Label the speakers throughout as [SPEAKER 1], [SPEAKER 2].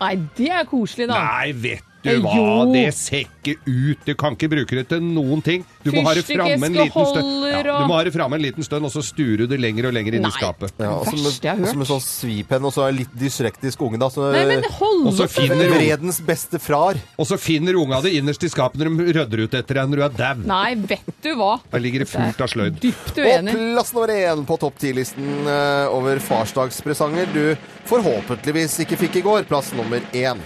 [SPEAKER 1] Nei, det er koselig, da.
[SPEAKER 2] Nei, vet
[SPEAKER 1] Eh,
[SPEAKER 2] du hva,
[SPEAKER 1] jo.
[SPEAKER 2] det ser ikke ut. Du kan ikke bruke det til noen ting. Du må ha det framme en liten stund.
[SPEAKER 1] Fyrstikkesker
[SPEAKER 2] Ja,
[SPEAKER 1] og-
[SPEAKER 2] du må ha det framme en liten stund, og så sturer du det lenger og lenger inn i
[SPEAKER 1] Nei.
[SPEAKER 2] skapet.
[SPEAKER 3] Ja, og så med,
[SPEAKER 1] Verste jeg har hørt.
[SPEAKER 3] og så med sånn svipenn, og så er litt dyslektisk unge, da. Så,
[SPEAKER 1] Nei, men hold
[SPEAKER 2] Og så
[SPEAKER 1] opp.
[SPEAKER 2] finner, unga-
[SPEAKER 3] Vredens beste frar.
[SPEAKER 2] og så finner unga det innerst i skapet når de rydder ut etter deg når du er dau.
[SPEAKER 1] Nei, vet du hva.
[SPEAKER 2] Der ligger det fullt av sløyd.
[SPEAKER 1] Dypt
[SPEAKER 3] Og
[SPEAKER 1] uenig.
[SPEAKER 3] plass nummer én på topp ti-listen eh, over farsdagspresanger du forhåpentligvis ikke fikk i går. Plass nummer én.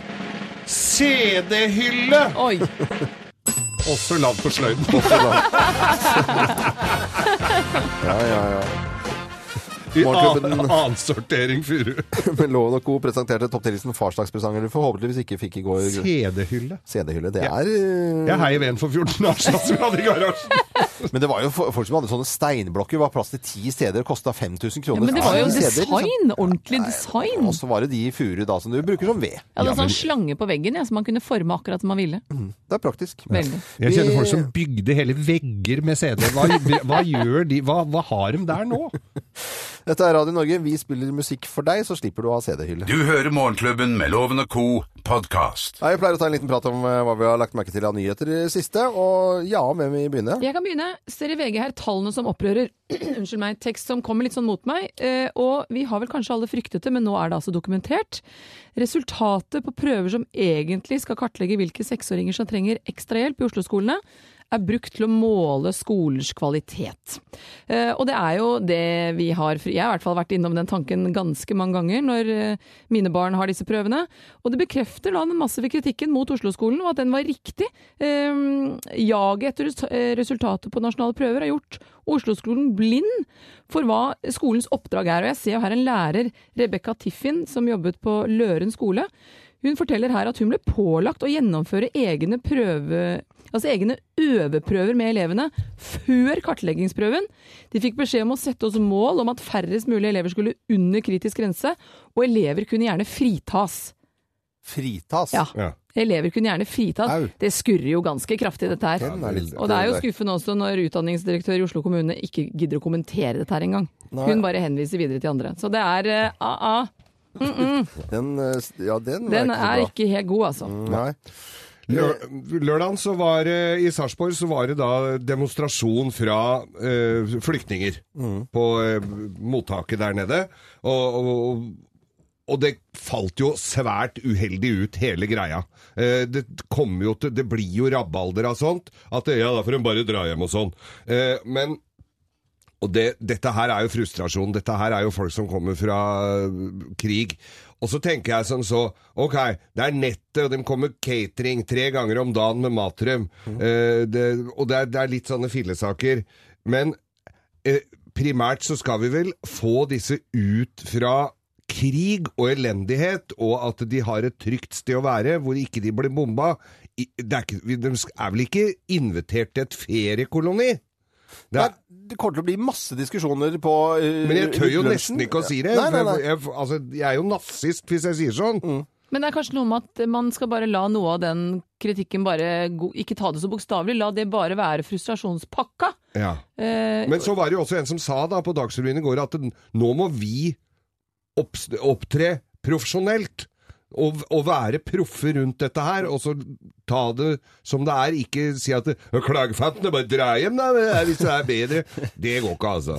[SPEAKER 2] CD-hylle!
[SPEAKER 1] Oi.
[SPEAKER 2] Også lagd på sløyden.
[SPEAKER 3] Ja, ja, ja. Morgenklubben
[SPEAKER 2] Annensortering Furu.
[SPEAKER 3] med Loven og Co. presenterte topptillitsen farsdagspresanger du forhåpentligvis ikke fikk i går.
[SPEAKER 2] CD-hylle.
[SPEAKER 3] CD-hylle. Det
[SPEAKER 2] Ja.
[SPEAKER 3] er eh,
[SPEAKER 2] Jeg heiv en for 14 år siden som vi hadde i garasjen.
[SPEAKER 3] Men det var jo fo- folk som hadde sånne steinblokker. Var plass til ti steder og kosta 5000
[SPEAKER 1] Ja,
[SPEAKER 3] kroner.
[SPEAKER 1] men det var jo
[SPEAKER 3] Ti steder, liksom.
[SPEAKER 1] design. Ordentlig design.
[SPEAKER 3] Og så var det de i furu da som du bruker som ved.
[SPEAKER 1] Jeg hadde en sånn slange på veggen jeg, som man kunne forme akkurat som man ville.
[SPEAKER 3] Det er praktisk.
[SPEAKER 1] Veldig.
[SPEAKER 2] Jeg kjenner
[SPEAKER 3] Vi-
[SPEAKER 2] folk som bygde hele vegger med CD. Hva, hva gjør de? Hva, hva har de der nå?
[SPEAKER 3] Dette er Radio Norge. Vi spiller musikk for deg, så slipper du å ha CD-hylle.
[SPEAKER 4] Du hører Morgenklubben med Loven og Co. podkast.
[SPEAKER 3] Ja, Jeg pleier å ta en liten prat om eh, hva vi har lagt merke til av nyheter i det siste. Og ja, hvem vil begynne?
[SPEAKER 1] Jeg kan begynne. Ser i VG her tallene som opprører. Unnskyld meg. Tekst som kommer litt sånn mot meg. Eh, og vi har vel kanskje alle fryktet det, men nå er det altså dokumentert. Resultatet på prøver som egentlig skal kartlegge hvilke seksåringer som trenger ekstra hjelp i Oslo-skolene, er brukt til å måle skolers kvalitet. Eh, og det er jo det vi har Jeg har i hvert fall vært innom den tanken ganske mange ganger når eh, mine barn har disse prøvene. Og det bekrefter da den massive kritikken mot Oslo-skolen, og at den var riktig. Um, Jaget etter res- eh, resultatet på nasjonale prøver har gjort Oslo-skolen blind for hva skolens oppdrag er. Og jeg ser jo her en lærer, Rebekka Tiffin, som jobbet på Løren skole. Hun forteller her at hun ble pålagt å gjennomføre egne prøve... Altså egne øveprøver med elevene før kartleggingsprøven. De fikk beskjed om å sette oss mål om at færrest mulig elever skulle under kritisk grense, og elever kunne gjerne fritas.
[SPEAKER 3] Fritas.
[SPEAKER 1] Ja.
[SPEAKER 2] Ja.
[SPEAKER 1] Elever kunne gjerne fritas.
[SPEAKER 3] Au.
[SPEAKER 1] Det skurrer jo ganske kraftig, dette her.
[SPEAKER 3] Den er litt-
[SPEAKER 1] Og det er jo skuffende også når utdanningsdirektør i Oslo kommune ikke gidder å kommentere dette her engang.
[SPEAKER 3] Nei.
[SPEAKER 1] Hun bare henviser videre til andre. Så det er eh, a-a.
[SPEAKER 3] Den, eh, s- ja, den,
[SPEAKER 1] Den er
[SPEAKER 3] er ikke så bra. Mm.
[SPEAKER 1] ikke helt god, altså.
[SPEAKER 3] Nei.
[SPEAKER 2] Lør, lørdagen så var det i Sarpsborg så var det da demonstrasjon fra eh, flyktninger på eh, mottaket der nede. Og, og, og det falt jo svært uheldig ut, hele greia. Eh, det kommer jo til Det blir jo rabalder av sånt. At ja, da får de bare dra hjem og sånn. Eh, men og det, dette her er jo frustrasjon. Dette her er jo folk som kommer fra øh, krig. Og så tenker jeg som så Ok, det er nettet, og de kommer catering tre ganger om dagen med mat til dem. Eh, det, og det er, det er litt sånne fillesaker. Men eh, primært så skal vi vel få disse ut fra krig og elendighet, og at de har et trygt sted å være, hvor ikke de blir bomba. I- Det er ikke, vi- de er vel ikke invitert til et feriekoloni? Det
[SPEAKER 3] Nei, Det kommer til å bli masse diskusjoner på eh,
[SPEAKER 2] Men jeg tør jo
[SPEAKER 3] lunsjen.
[SPEAKER 2] nesten ikke å si det.
[SPEAKER 3] Nei, nei, nei. Mm.
[SPEAKER 2] for Jeg, altså, jeg er jo nazist hvis jeg sier sånn.
[SPEAKER 1] Men det er kanskje noe med at man skal bare la noe av den kritikken bare go- Ikke ta det så bokstavelig, la det bare være frustrasjonspakka. Eh,
[SPEAKER 2] Men så var det jo også en som sa da på Dagsrevyen i går at nå må vi opps- opptre profesjonelt. Og, og være proffe rundt dette her, og så ta det som det er. Ikke si at klagefantene bare dra hjem, da, hvis det er bedre. Det går ikke, altså.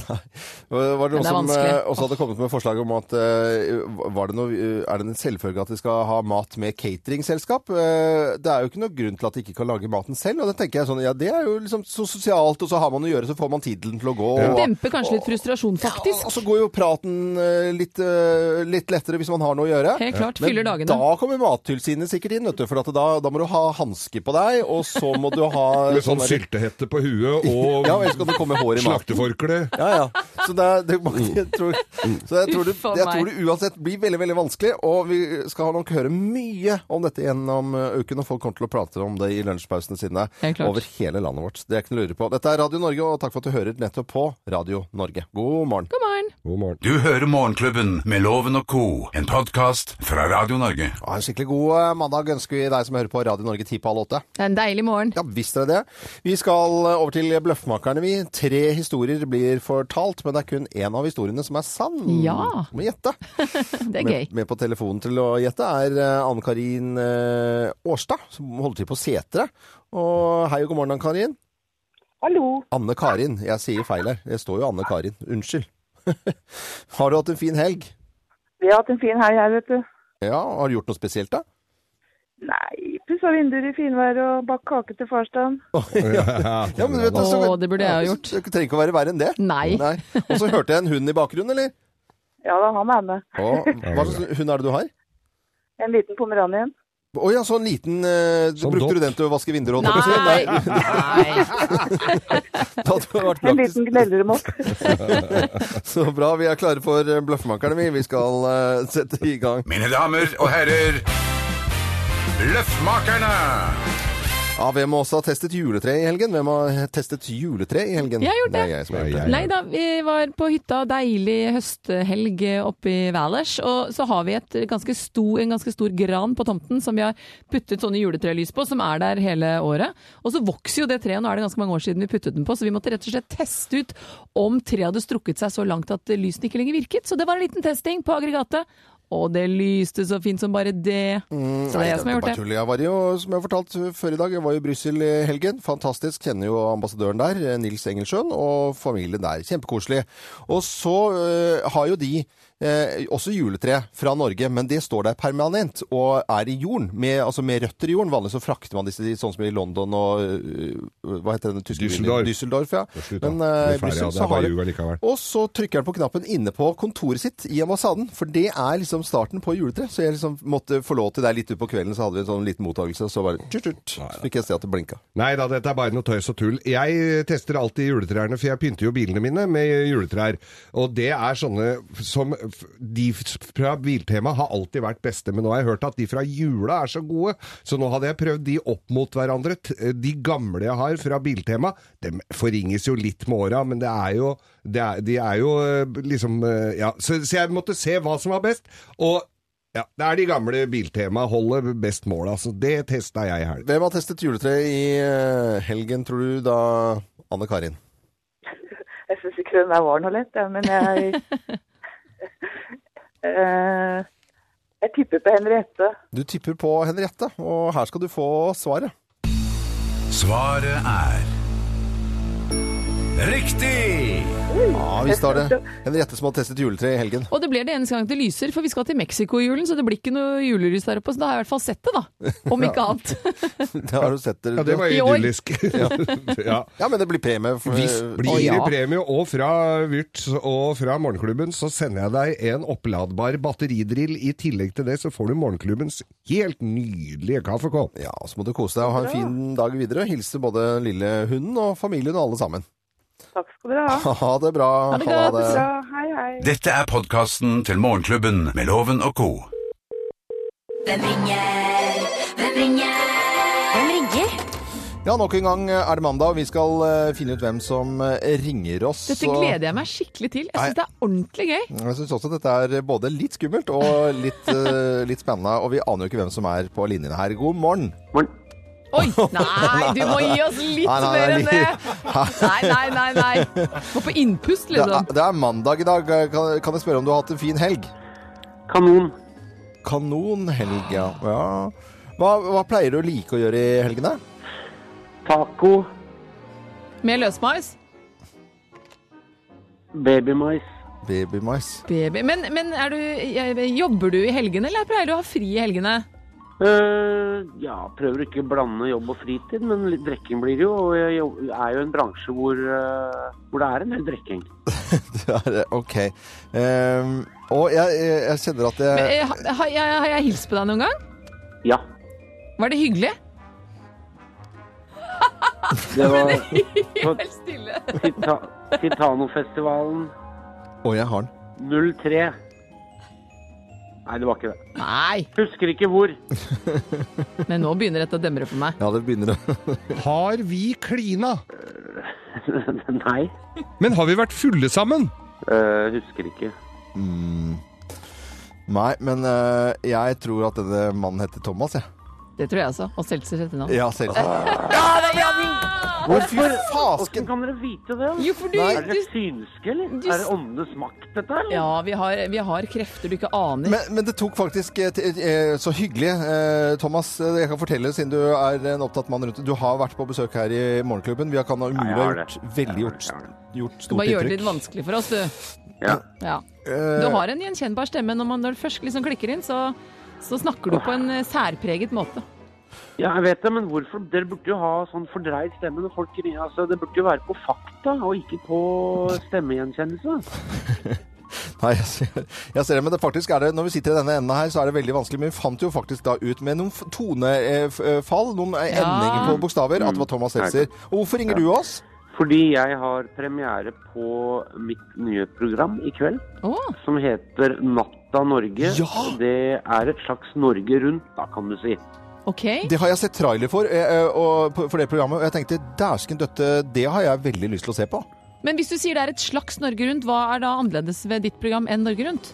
[SPEAKER 3] Og
[SPEAKER 1] Men det er
[SPEAKER 3] Var det noen som
[SPEAKER 1] vanskelig.
[SPEAKER 3] eh, også hadde kommet med forslag om at eh, var det noe, eh, Er det en selvfølge at de skal ha mat med cateringselskap? Eh, Det er jo ikke noe grunn til at de ikke kan lage maten selv. Og det tenker jeg sånn, ja det er jo liksom så sosialt, og så har man å gjøre, så får man tiden til å gå. Og,
[SPEAKER 1] demper kanskje litt frustrasjon, faktisk.
[SPEAKER 3] og så går jo praten eh, litt, eh, litt lettere hvis man har noe å gjøre.
[SPEAKER 1] Helt klart, fyller dagene.
[SPEAKER 3] da kommer Mattilsynet sikkert inn, vet du. For at da, da må du ha hanske på deg, og så må du ha
[SPEAKER 2] Med sånn
[SPEAKER 3] der-
[SPEAKER 2] syltehette på huet og
[SPEAKER 3] Ja, ellers kan det komme hår i maten.
[SPEAKER 2] slakteforkle.
[SPEAKER 3] Ja, ja. Så, det er, det,
[SPEAKER 2] Mm.
[SPEAKER 3] jeg tror, så jeg, tror det,
[SPEAKER 1] Uff a
[SPEAKER 3] jeg
[SPEAKER 1] meg.
[SPEAKER 3] tror det uansett blir veldig veldig vanskelig. Og vi skal nok høre mye om dette gjennom eh, uken, og folk kommer til å prate om det i lunsjpausene sine
[SPEAKER 1] Helt klart.
[SPEAKER 3] over hele landet vårt. Det er ikke noe å lure på. Dette er Radio Norge, og takk for at du hører nettopp på Radio Norge. God morgen.
[SPEAKER 1] God morgen.
[SPEAKER 2] God morgen.
[SPEAKER 4] Du hører Morgenklubben med Loven og Co., en podkast fra Radio Norge.
[SPEAKER 3] Ha en skikkelig god eh, mandag ønsker vi deg som hører på Radio Norge ti på halv åtte.
[SPEAKER 1] Det er en deilig morgen.
[SPEAKER 3] Ja, visste dere det. Vi skal eh, over til Bløffmakerne, vi. Tre historier blir fortalt, men det er kun én av historiene som er sann.
[SPEAKER 1] Ja.
[SPEAKER 3] Må gjette.
[SPEAKER 1] Det er gøy.
[SPEAKER 3] Med, med på telefonen til å gjette er eh, Anne Karin eh, Årstad, som holder til på Setre. Og hei og god morgen, Anne Karin.
[SPEAKER 5] Hallo.
[SPEAKER 3] Anne Karin. Jeg sier feil her. Det står jo Anne Karin. Unnskyld. har du hatt en fin helg?
[SPEAKER 5] Vi har hatt en fin helg her, vet du.
[SPEAKER 3] Ja, har du gjort noe spesielt, da?
[SPEAKER 5] Nei, pussa vinduer i finvær og bakt kake til farsdagen.
[SPEAKER 3] Ja, men vet du, så-
[SPEAKER 1] Å, det burde jeg ha gjort.
[SPEAKER 3] Det trenger ikke å være verre enn det.
[SPEAKER 1] Nei.
[SPEAKER 3] Og så hørte jeg en hund i bakgrunnen, eller?
[SPEAKER 5] Ja da, han er med.
[SPEAKER 3] Å, hva slags hund er det du har?
[SPEAKER 5] En liten pomeranien.
[SPEAKER 3] Å ja, sånn liten eh,
[SPEAKER 2] Sånn
[SPEAKER 3] Brukte du
[SPEAKER 2] dott.
[SPEAKER 3] den til å vaske vinduer og
[SPEAKER 1] Nei!
[SPEAKER 3] dott?
[SPEAKER 1] Nei.
[SPEAKER 3] Det hadde vært
[SPEAKER 5] En
[SPEAKER 3] praktisk.
[SPEAKER 5] liten gnellermott.
[SPEAKER 3] Så bra, vi er klare for eh, bløffmakerne, vi. Vi skal eh, sette i gang.
[SPEAKER 4] Mine damer og herrer, Løffmakerne!
[SPEAKER 3] Ja, hvem av oss har testet juletre i helgen? Hvem har testet juletre i helgen?
[SPEAKER 1] Jeg har gjort det.
[SPEAKER 3] er jeg som har
[SPEAKER 2] Ja,
[SPEAKER 3] gjort det.
[SPEAKER 2] jeg.
[SPEAKER 1] Nei da, vi var på hytta, deilig høsthelg oppe i Valers. Og så har vi et ganske stor, en ganske stor gran på tomten som vi har puttet sånne juletrelys på, som er der hele året. Og så vokser jo det treet, nå er det ganske mange år siden vi puttet den på, så vi måtte rett og slett teste ut om treet hadde strukket seg så langt at lysene ikke lenger virket. Så det var en liten testing på aggregatet. Og det lyste så fint som bare det. Så det er jeg som har gjort
[SPEAKER 3] bare
[SPEAKER 1] det.
[SPEAKER 3] tull. Jeg var jo, som jeg har fortalt før i dag, jeg var jo i Brussel i helgen. Fantastisk. Kjenner jo ambassadøren der, eh, Nils Engelsjøen, og familien der. Kjempekoselig. Og så øh, har jo de øh, også juletre fra Norge, men det står der permanent og er i jorden. Med, altså med røtter i jorden. Vanligvis så frakter man disse sånn som i London og øh, Hva heter den tyske byen?
[SPEAKER 2] Düsseldorf.
[SPEAKER 3] Düsseldorf, ja.
[SPEAKER 2] slutt, da.
[SPEAKER 3] Men øh, i
[SPEAKER 2] Bli ferdig, ja.
[SPEAKER 3] Brussel så
[SPEAKER 2] Det er bare
[SPEAKER 3] har
[SPEAKER 2] ljug allikevel.
[SPEAKER 3] og så trykker han på knappen inne på kontoret sitt i ambassaden, for det er liksom starten på juletre. Så jeg liksom måtte få lov til det litt utpå kvelden, så hadde vi en sånn liten mottakelse, og så bare tjut, tjut, så fikk jeg se at det blinka.
[SPEAKER 2] Nei da, dette er bare noe tøys og tull. Jeg tester alltid juletrærne, for jeg pynter jo bilene mine med juletrær. Og det er sånne som f- De f- fra Biltema har alltid vært beste, men nå har jeg hørt at de fra jula er så gode, så nå hadde jeg prøvd de opp mot hverandre. T- De gamle jeg har fra Biltema, dem forringes jo litt med åra, men det er jo, det er, de er jo eh, liksom eh, Ja, så, så jeg måtte se hva som var best. og ja, Det er de gamle Biltema holder best mål, altså. Det testa jeg i helga.
[SPEAKER 3] Hvem har testet juletre i eh, helgen, tror du da, Anne Karin?
[SPEAKER 5] Jeg syns ikke den der var noe lett, jeg, men jeg Eh, Jeg tipper på Henriette.
[SPEAKER 3] Du tipper på Henriette, og her skal du få svaret.
[SPEAKER 4] Svaret er Riktig!
[SPEAKER 3] Ja, visst har det. Henriette som har testet juletre i helgen.
[SPEAKER 1] Og det blir det eneste gang det lyser, for vi skal til Mexico i julen, så det blir ikke noe julelys der oppe. Så da har jeg i hvert fall sett det, da. Om ikke annet.
[SPEAKER 3] Det har du sett.
[SPEAKER 2] Ja, det var
[SPEAKER 1] I år.
[SPEAKER 2] idyllisk. ja. ja.
[SPEAKER 3] Ja, men det blir premie. For,
[SPEAKER 2] Hvis blir
[SPEAKER 1] Å, ja.
[SPEAKER 2] det premie, og fra Vyrt og fra Morgenklubben, så sender jeg deg en oppladbar batteridrill. I tillegg til det så får du Morgenklubbens helt nydelige kaffekopp.
[SPEAKER 3] Ja, så må du kose deg og ha en fin dag videre. Hilse både den lille hunden og familien og alle sammen.
[SPEAKER 5] Takk skal dere ha.
[SPEAKER 3] Ha det bra.
[SPEAKER 1] Ha det godt.
[SPEAKER 5] Bra. Hei, hei.
[SPEAKER 4] Dette er podkasten til Morgenklubben med Loven og co.
[SPEAKER 6] Hvem ringer? Hvem ringer? Hvem ringer?
[SPEAKER 3] Ja, nok en gang er det mandag, og vi skal eh, finne ut hvem som eh, ringer oss.
[SPEAKER 1] Dette gleder jeg meg skikkelig til. Jeg
[SPEAKER 3] Nei.
[SPEAKER 1] syns det er ordentlig gøy.
[SPEAKER 3] Jeg syns også dette er både litt skummelt og litt, eh, litt spennende, og vi aner jo ikke hvem som er på linjene her. God morgen!
[SPEAKER 1] Oi! Nei, du må gi oss litt
[SPEAKER 3] Nei, nei,
[SPEAKER 1] mer enn
[SPEAKER 3] nei,
[SPEAKER 1] det!
[SPEAKER 3] nei. ah.
[SPEAKER 1] Nei, nei, nei. nei. Må på innpust,
[SPEAKER 3] Det er,
[SPEAKER 1] liksom.
[SPEAKER 3] det er mandag i dag. Eh, Kan, kan jeg spørre om du har hatt en fin helg?
[SPEAKER 7] Kanon.
[SPEAKER 3] Kanonhelg, ja. ja. Hva, hva pleier du å like å gjøre i helgene?
[SPEAKER 7] Taco.
[SPEAKER 1] Med løsmais.
[SPEAKER 7] Babymais.
[SPEAKER 3] Babymais.
[SPEAKER 1] Baby. Men, men er du, jeg- jobber du i helgene, eller pleier du å ha fri i helgene?
[SPEAKER 7] Eh, ja, prøver ikke å blande jobb og fritid, men litt drikking blir det jo. Og jeg jobb- er jo i en bransje hvor, eh, hvor det er en del drikking.
[SPEAKER 3] Det er OK. Um, og jeg, jeg, jeg kjenner at
[SPEAKER 1] Men,
[SPEAKER 3] jeg
[SPEAKER 1] eh, har, har jeg, har jeg hilst på deg noen gang?
[SPEAKER 7] Ja.
[SPEAKER 1] Var det hyggelig?
[SPEAKER 7] Det var
[SPEAKER 1] Helt stille.
[SPEAKER 7] Tita Titanofestivalen
[SPEAKER 3] Å, jeg har den.
[SPEAKER 7] 03. Nei, det var ikke det.
[SPEAKER 1] Nei,
[SPEAKER 7] Husker ikke hvor.
[SPEAKER 1] men nå begynner dette å demre for meg.
[SPEAKER 3] Ja, det begynner å
[SPEAKER 2] Har vi klina?
[SPEAKER 7] Nei.
[SPEAKER 2] Men har vi vært fulle sammen?
[SPEAKER 7] Eh, husker ikke.
[SPEAKER 3] Hmm. Nei, men eh, jeg tror at denne mannen heter Thomas, jeg.
[SPEAKER 1] Det tror jeg også. Og Seltzer heter navn.
[SPEAKER 3] Ja, selv. Hvorfor
[SPEAKER 7] Hvordan
[SPEAKER 3] fasken?
[SPEAKER 7] kan dere vite det? da?
[SPEAKER 1] Jo, for du,
[SPEAKER 7] Er dere
[SPEAKER 1] du
[SPEAKER 7] synske, eller?
[SPEAKER 1] Du-
[SPEAKER 7] Er det åndenes makt, dette her? eller?
[SPEAKER 1] Ja, vi har, vi har krefter du ikke aner.
[SPEAKER 3] Men, men det tok faktisk eh, til- eh, så hyggelig. eh, Thomas, eh, jeg kan fortelle, siden du er en opptatt mann rundt Du har vært på besøk her i Morgenklubben. Vi har kan ha
[SPEAKER 7] Ja,
[SPEAKER 3] umulig
[SPEAKER 7] jeg har
[SPEAKER 3] ha
[SPEAKER 7] det.
[SPEAKER 3] gjort veldig
[SPEAKER 7] Jeg har
[SPEAKER 3] gjort,
[SPEAKER 7] det, jeg har
[SPEAKER 3] gjort
[SPEAKER 1] du bare
[SPEAKER 3] stort
[SPEAKER 1] gjør det litt
[SPEAKER 3] inntrykk.
[SPEAKER 1] vanskelig for oss, du.
[SPEAKER 7] Ja.
[SPEAKER 1] Ja.
[SPEAKER 3] Eh,
[SPEAKER 1] Du har en gjenkjennbar stemme. Når, man, når det først liksom klikker inn, så, så snakker du på en eh, særpreget måte.
[SPEAKER 7] Ja, jeg vet det, men hvorfor? Dere burde jo ha sånn fordreid stemme når folk ringer. Altså, det burde jo være på fakta, og ikke på stemmegjenkjennelse.
[SPEAKER 3] Nei, jeg ser, jeg ser det, men det faktisk er det, når vi sitter i denne enden her, så er det veldig vanskelig. Men vi fant jo faktisk da ut med noen f- tonefall, noen eh,
[SPEAKER 1] Ja.
[SPEAKER 3] endinger på bokstaver, at det var Thomas Seltzer. Og hvorfor ringer du oss?
[SPEAKER 7] Fordi jeg har premiere på mitt nye program i kveld,
[SPEAKER 1] Å,
[SPEAKER 7] som heter Natta Norge.
[SPEAKER 3] Ja!
[SPEAKER 7] Det er et slags Norge rundt, da, kan du si.
[SPEAKER 1] OK.
[SPEAKER 3] Det har jeg sett trailer for, eh, eh, og, på- for det programmet, og jeg tenkte dæsken døtte, det har jeg veldig lyst til å se på.
[SPEAKER 1] Men hvis du sier det er et slags Norge Rundt, hva er da annerledes ved ditt program enn Norge Rundt?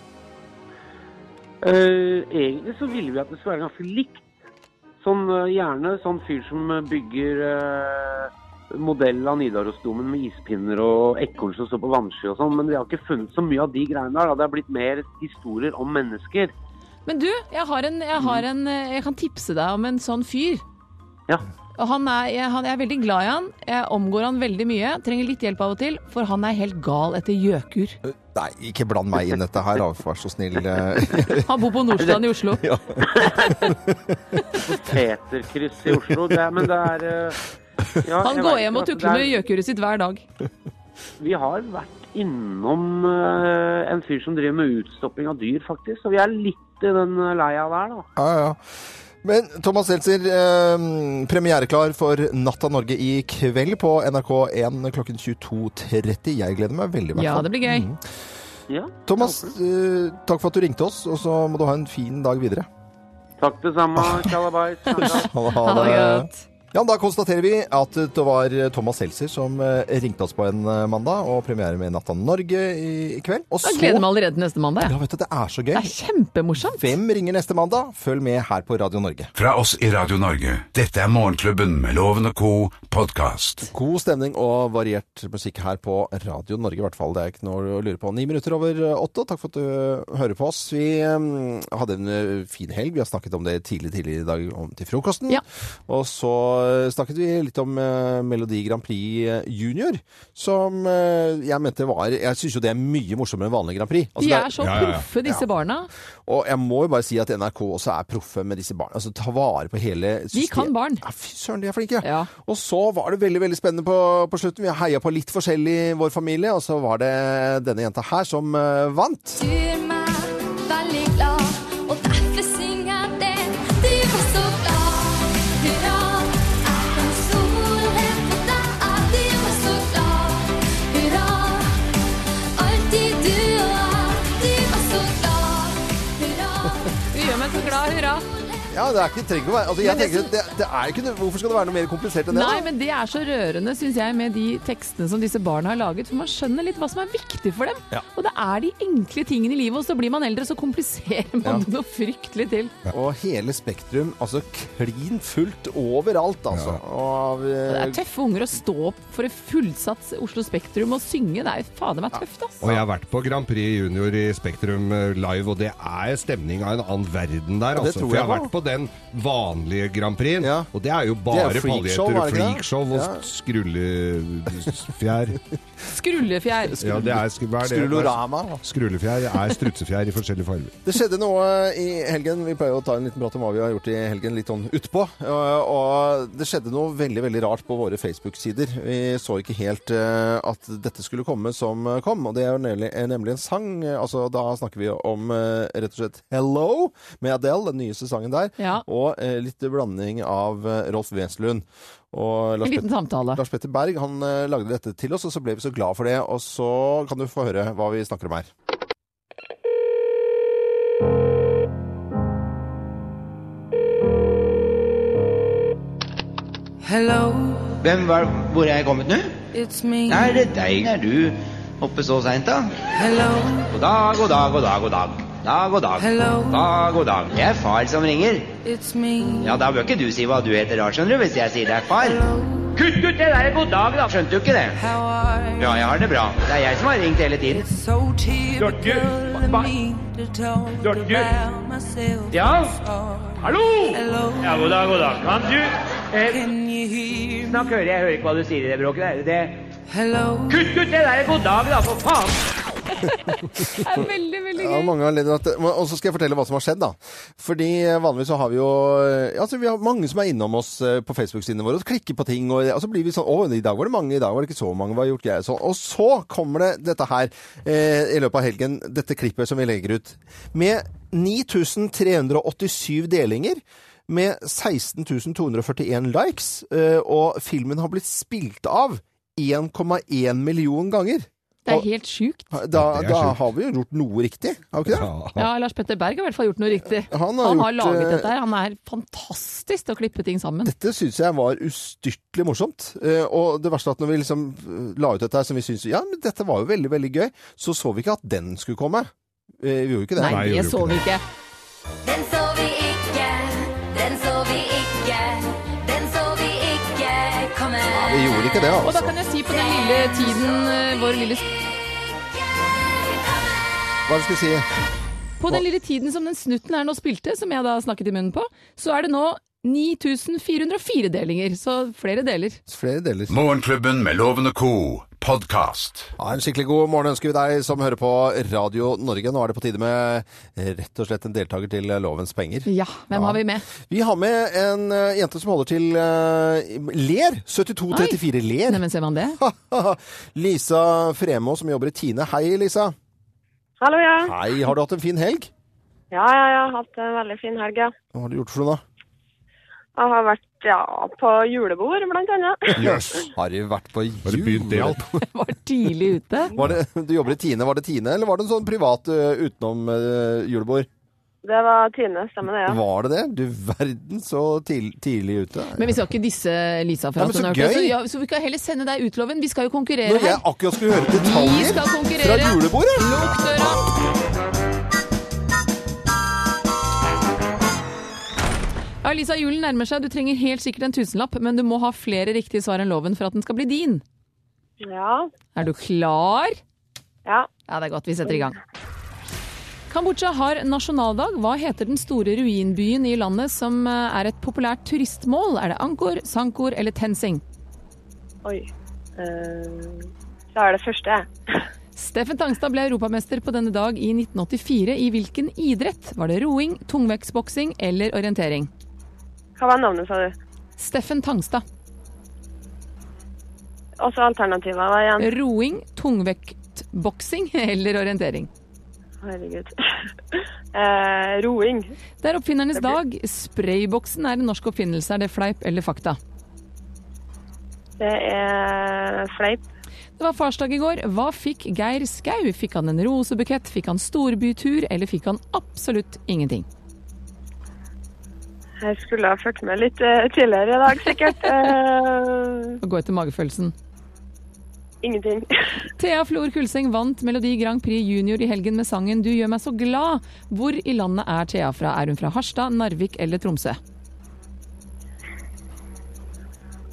[SPEAKER 7] Eh, egentlig så ville vi at det skulle være ganske likt. Sånn, eh, gjerne sånn fyr som eh, bygger eh, modell av Nidarosdomen med ispinner og ekorn som står på vannski og sånn, men vi har ikke funnet så mye av de greiene der. Da. Det har blitt mer historier om mennesker.
[SPEAKER 1] Men du, jeg, har en, jeg, har en, eh, jeg kan tipse deg om en sånn fyr.
[SPEAKER 7] Ja.
[SPEAKER 1] Og han er, jeg, han, jeg er veldig glad i han. Jeg omgår han veldig mye. Trenger litt hjelp av og til, for han er helt gal etter gjøkur.
[SPEAKER 3] Eh, Nei, ikke bland meg inn i dette her, da, vær så snill. eh.
[SPEAKER 1] Han bor på Nordstrand i Oslo.
[SPEAKER 7] Peterkryss i Oslo, det, er- men det er eh, ja,
[SPEAKER 1] Han
[SPEAKER 7] jeg
[SPEAKER 1] går
[SPEAKER 7] vet
[SPEAKER 1] hjem og
[SPEAKER 7] ikke, altså,
[SPEAKER 1] tukler med
[SPEAKER 7] det er-
[SPEAKER 1] gjøkuret sitt hver dag.
[SPEAKER 7] Vi har vært innom eh, en fyr som driver med utstopping av dyr, faktisk. Så vi er litt i den eh, leia der, da.
[SPEAKER 3] Ja, ja. Men Thomas Seltzer, eh, premiereklar for Natta Norge i kveld på NRK1 klokken 22.30. Jeg gleder meg veldig. i hvert
[SPEAKER 1] Ja, Mm.
[SPEAKER 3] fall.
[SPEAKER 1] det blir gøy.
[SPEAKER 7] Ja,
[SPEAKER 3] Thomas, eh, takk for at du ringte oss, og så må du ha en fin dag videre.
[SPEAKER 7] Takk det samme, kalabais. Sandra.
[SPEAKER 3] Ha det.
[SPEAKER 1] Ha det godt.
[SPEAKER 3] Ja, da konstaterer vi at det var Thomas Seltzer som eh, ringte oss på en eh, mandag, og premiere med Natta Norge i, i kveld. Og så
[SPEAKER 1] Jeg gleder meg allerede til neste mandag. jeg.
[SPEAKER 3] Ja, vet du, det er så gøy.
[SPEAKER 1] Det er kjempemorsomt.
[SPEAKER 3] Hvem ringer neste mandag? Følg med her på Radio Norge.
[SPEAKER 4] Fra oss i Radio Norge. Dette er Morgenklubben med Loven og co. podkast.
[SPEAKER 3] God stemning og variert musikk her på Radio Norge, i hvert fall. Det er ikke noe å lure på. Ni minutter over åtte, og takk for at du hører på oss. Vi eh, hadde en eh, fin helg. Vi har snakket om det tidlig tidlig i dag om til frokosten.
[SPEAKER 1] Ja.
[SPEAKER 3] Og så eh, snakket vi litt om eh, Melodi Grand Prix eh, Junior, som eh, jeg mente var Jeg syns jo det er mye morsommere enn vanlig Grand Prix. Altså,
[SPEAKER 1] De
[SPEAKER 3] det er-
[SPEAKER 1] er så
[SPEAKER 2] Ja, ja, ja.
[SPEAKER 1] proffe, disse barna.
[SPEAKER 3] og jeg må jo bare si at NRK også er proffe med disse barna. Altså ta vare på hele systemet.
[SPEAKER 1] kan barn.
[SPEAKER 3] Ja, fy søren, de er flinke.
[SPEAKER 1] Ja.
[SPEAKER 3] Og så var det veldig veldig spennende på, på slutten. Vi heia på litt forskjellig i vår familie, og så var det denne jenta her som eh, vant.
[SPEAKER 6] Du gjør meg veldig glad, og derfor synger den. Du var så glad, hurra. Jeg kan stole på deg, du var så glad, hurra. Alltid du og jeg, du var så glad, hurra.
[SPEAKER 1] Du gjør meg så glad, hurra.
[SPEAKER 3] Ja, det er ikke trenger å være altså, jeg
[SPEAKER 1] Men det
[SPEAKER 3] tenker, det, det er ikke, noe- Hvorfor skal det være noe mer komplisert enn det?
[SPEAKER 1] Nei,
[SPEAKER 3] da?
[SPEAKER 1] men det er så rørende, syns jeg, med de tekstene som disse barna har laget. For man skjønner litt hva som er viktig for dem. Og det er de enkle tingene i livet. Og så blir man eldre, så kompliserer man det noe fryktelig til.
[SPEAKER 3] Og hele Spektrum, altså klin fullt overalt, altså. Og,
[SPEAKER 1] Det er
[SPEAKER 3] eh,
[SPEAKER 1] tøffe unger å stå opp for et fullsatt Oslo Spektrum og synge. Det er fader meg tøft, ass.
[SPEAKER 2] Og jeg har vært på Grand Prix Junior i Spektrum eh, live, og det er stemning av en annen verden der.
[SPEAKER 3] det
[SPEAKER 2] Altså.
[SPEAKER 3] tror
[SPEAKER 2] For jeg
[SPEAKER 3] jeg
[SPEAKER 2] har vært på den vanlige Grand Prix-en,
[SPEAKER 3] Ja.
[SPEAKER 2] og det er
[SPEAKER 3] er
[SPEAKER 2] jo
[SPEAKER 3] jo
[SPEAKER 2] bare
[SPEAKER 3] freakshow, er
[SPEAKER 2] paljetter og
[SPEAKER 3] det ikke det?
[SPEAKER 2] freakshow og
[SPEAKER 3] Ja.
[SPEAKER 2] skrullefjær.
[SPEAKER 1] Skrullefjær.
[SPEAKER 2] Ja, det er sk- hva er det?
[SPEAKER 3] Skrulorama.
[SPEAKER 2] Skrullefjær er strutsefjær i forskjellige farger.
[SPEAKER 3] Det skjedde noe i helgen. Vi pleier å ta en liten prat om hva vi har gjort i helgen litt sånn utpå. Eh, Og det skjedde noe veldig veldig rart på våre Facebook-sider. Vi så ikke helt eh, at dette skulle komme som eh, kom. Og det er jo nemlig, er nemlig en sang. Eh, Altså, da snakker vi om eh, rett og slett 'Hello' med Adele, den nyeste sangen der.
[SPEAKER 1] Ja.
[SPEAKER 3] Og eh, litt blanding av eh, Rolf Wesenlund og Lars
[SPEAKER 1] En liten
[SPEAKER 3] Petter.
[SPEAKER 1] samtale.
[SPEAKER 3] Lars Petter Berg han eh, lagde dette til oss, og så ble vi så glad for det. Og så kan du få høre hva vi snakker om her.
[SPEAKER 8] Hello,
[SPEAKER 9] Hvem var, Hvor er jeg kommet nå?
[SPEAKER 8] it's me.
[SPEAKER 9] Er det deg når du oppe så seint, da?
[SPEAKER 8] Hello,
[SPEAKER 9] God dag, god dag, god dag, god dag. Dag, god dag.
[SPEAKER 8] Hello.
[SPEAKER 9] Dag, god dag. Det er far som ringer.
[SPEAKER 8] it's me.
[SPEAKER 9] Ja, Da bør ikke du si hva du heter da, skjønner du, hvis jeg sier det er far. Kutt ut det der god dag, da. Skjønte du ikke det?
[SPEAKER 8] How are you?
[SPEAKER 9] Ja, jeg har det bra. Det er jeg som har ringt hele tiden.
[SPEAKER 8] It's so typical of me to talk about myself.
[SPEAKER 10] Ja?
[SPEAKER 8] Sorry.
[SPEAKER 10] Hallo!
[SPEAKER 8] Hello,
[SPEAKER 10] Ja, god dag, god dag. Kan du eh,
[SPEAKER 8] can you hear me?
[SPEAKER 9] Snakk hører jeg hører ikke hva du sier i det bråket der. Det
[SPEAKER 8] Hello,
[SPEAKER 10] Kutt ut det der! God dag, da, for faen!
[SPEAKER 1] Det er veldig, veldig veldig
[SPEAKER 3] Ja,
[SPEAKER 1] gøy.
[SPEAKER 3] mange har ledd at, og så skal jeg fortelle hva som har skjedd, da. Fordi eh, vanligvis så har vi jo Altså, vi har mange som er innom oss eh, på Facebook-sidene våre og klikker på ting, og, og så blir vi sånn Å, i dag var det mange, i dag var det ikke så mange, hva har gjort jeg? Så, og så kommer det dette her eh, i løpet av helgen, dette klippet som vi legger ut. Med 9387 delinger. Med 16.241 likes, eh, og filmen har blitt spilt av 1,1 million ganger.
[SPEAKER 1] Det er helt sjukt.
[SPEAKER 3] Da,
[SPEAKER 2] det er
[SPEAKER 3] da
[SPEAKER 2] sjukt.
[SPEAKER 3] har vi jo gjort noe riktig, har vi ikke det?
[SPEAKER 2] Ja.
[SPEAKER 1] Ja, Lars Petter Berg har i hvert fall gjort noe riktig.
[SPEAKER 3] Han har gjort,
[SPEAKER 1] laget
[SPEAKER 3] eh,
[SPEAKER 1] dette her. Han er fantastisk til å klippe ting sammen.
[SPEAKER 3] Dette syns jeg var ustyrtelig morsomt. Eh, og det verste er at når vi liksom eh, la ut dette her, som vi syntes ja, men dette var jo veldig, veldig gøy, så så vi ikke at den skulle komme. Eh, vi gjorde jo ikke det.
[SPEAKER 1] Nei,
[SPEAKER 2] Nei,
[SPEAKER 1] det
[SPEAKER 2] gjorde
[SPEAKER 1] så
[SPEAKER 2] ikke
[SPEAKER 1] vi ikke.
[SPEAKER 6] Den så vi ikke, den så vi ikke, den så vi ikke komme.
[SPEAKER 3] Ja, vi gjorde ikke det,
[SPEAKER 1] Og da
[SPEAKER 3] altså.
[SPEAKER 1] kan jeg si på den lille tiden eh, vår lille
[SPEAKER 3] Hva skal jeg si?
[SPEAKER 1] På den lille tiden som den snutten her nå spilte, som jeg da snakket i munnen på, så er det nå 9404 delinger, så flere deler.
[SPEAKER 3] Flere deler.
[SPEAKER 4] Morgenklubben med Loven og Co. Podcast.
[SPEAKER 3] Ja, en skikkelig god morgen ønsker vi deg som hører på Radio Norge. Nå er det på tide med eh, rett og slett en deltaker til eh, Lovens penger.
[SPEAKER 1] Ja, hvem har vi med?
[SPEAKER 3] Vi har med en eh, jente som holder til eh, Ler. 7234 Ler.
[SPEAKER 1] Neimen, ser man det?
[SPEAKER 3] Lisa Fremo som jobber i Tine. Hei, Lisa.
[SPEAKER 5] Hallo, ja.
[SPEAKER 3] Hei, har du hatt en fin helg?
[SPEAKER 5] Ja, ja, jeg har hatt en veldig fin helg, ja.
[SPEAKER 3] Hva har du gjort for noe da?
[SPEAKER 5] Jeg har vært ja, på julebord, blant annet.
[SPEAKER 2] Jøss.
[SPEAKER 3] Har du vært på jul?
[SPEAKER 2] Har du begynt det alt?
[SPEAKER 1] Var tidlig ute.
[SPEAKER 3] Var det, du jobber i Tine, var det Tine, eller var det en sånn privat ø, utenom ø, julebord?
[SPEAKER 5] Det var Tine, stemmer det, ja.
[SPEAKER 3] Var det det? Du verden, så til, tidlig ute.
[SPEAKER 1] Men vi skal ikke disse Lisa for
[SPEAKER 3] Nei,
[SPEAKER 1] at
[SPEAKER 3] men
[SPEAKER 1] hun
[SPEAKER 3] så
[SPEAKER 1] har hørt det,
[SPEAKER 3] gøy!
[SPEAKER 1] så, ja, så vi kan heller sende deg ut, Loven. Vi skal jo konkurrere
[SPEAKER 3] Når jeg
[SPEAKER 1] her.
[SPEAKER 3] akkurat skulle høre
[SPEAKER 1] Vi
[SPEAKER 3] detaljer
[SPEAKER 1] skal
[SPEAKER 3] fra
[SPEAKER 1] konkurrere.
[SPEAKER 3] julebordet!
[SPEAKER 1] Lukk døra. Ja, Lisa, julen nærmer seg. Du trenger helt sikkert en tusenlapp, men du må ha flere riktige svar enn Loven for at den skal bli din.
[SPEAKER 5] Ja,
[SPEAKER 1] Er du klar?
[SPEAKER 5] ja.
[SPEAKER 1] Ja, det er godt. Vi setter i gang. Kambodsja har nasjonaldag. Hva heter den store ruinbyen i landet som eh, er et populært turistmål? Er det Angkor, Sankor eller Tensing?
[SPEAKER 5] Oi. Eh, så er det første.
[SPEAKER 1] Steffen Tangstad ble europamester på denne dag i 1984. I hvilken idrett? Var det roing, tungvektsboksing eller orientering?
[SPEAKER 5] Hva var navnet, sa du?
[SPEAKER 1] Steffen Tangstad.
[SPEAKER 5] Og så Altså, alternativet var igjen.
[SPEAKER 1] Roing, tungvektboksing eller orientering?
[SPEAKER 5] Herregud. Eh, roing.
[SPEAKER 1] Det er oppfinnernes dag. Sprayboksen er en norsk oppfinnelse. Er det fleip eller fakta?
[SPEAKER 5] Det er fleip.
[SPEAKER 1] Det var farsdag i går. Hva fikk Geir Skau? Fikk han en rosebukett, fikk han storbytur, eller fikk han absolutt ingenting?
[SPEAKER 5] Jeg skulle ha fulgt med litt eh, tidligere i dag, sikkert. Eh,
[SPEAKER 1] Å gå etter magefølelsen.
[SPEAKER 5] ingenting.
[SPEAKER 1] Thea Flor Kulseng vant Melodi Grand Prix Junior i helgen med sangen 'Du gjør meg så glad'. Hvor i landet er Thea fra? Er hun fra Harstad, Narvik eller Tromsø?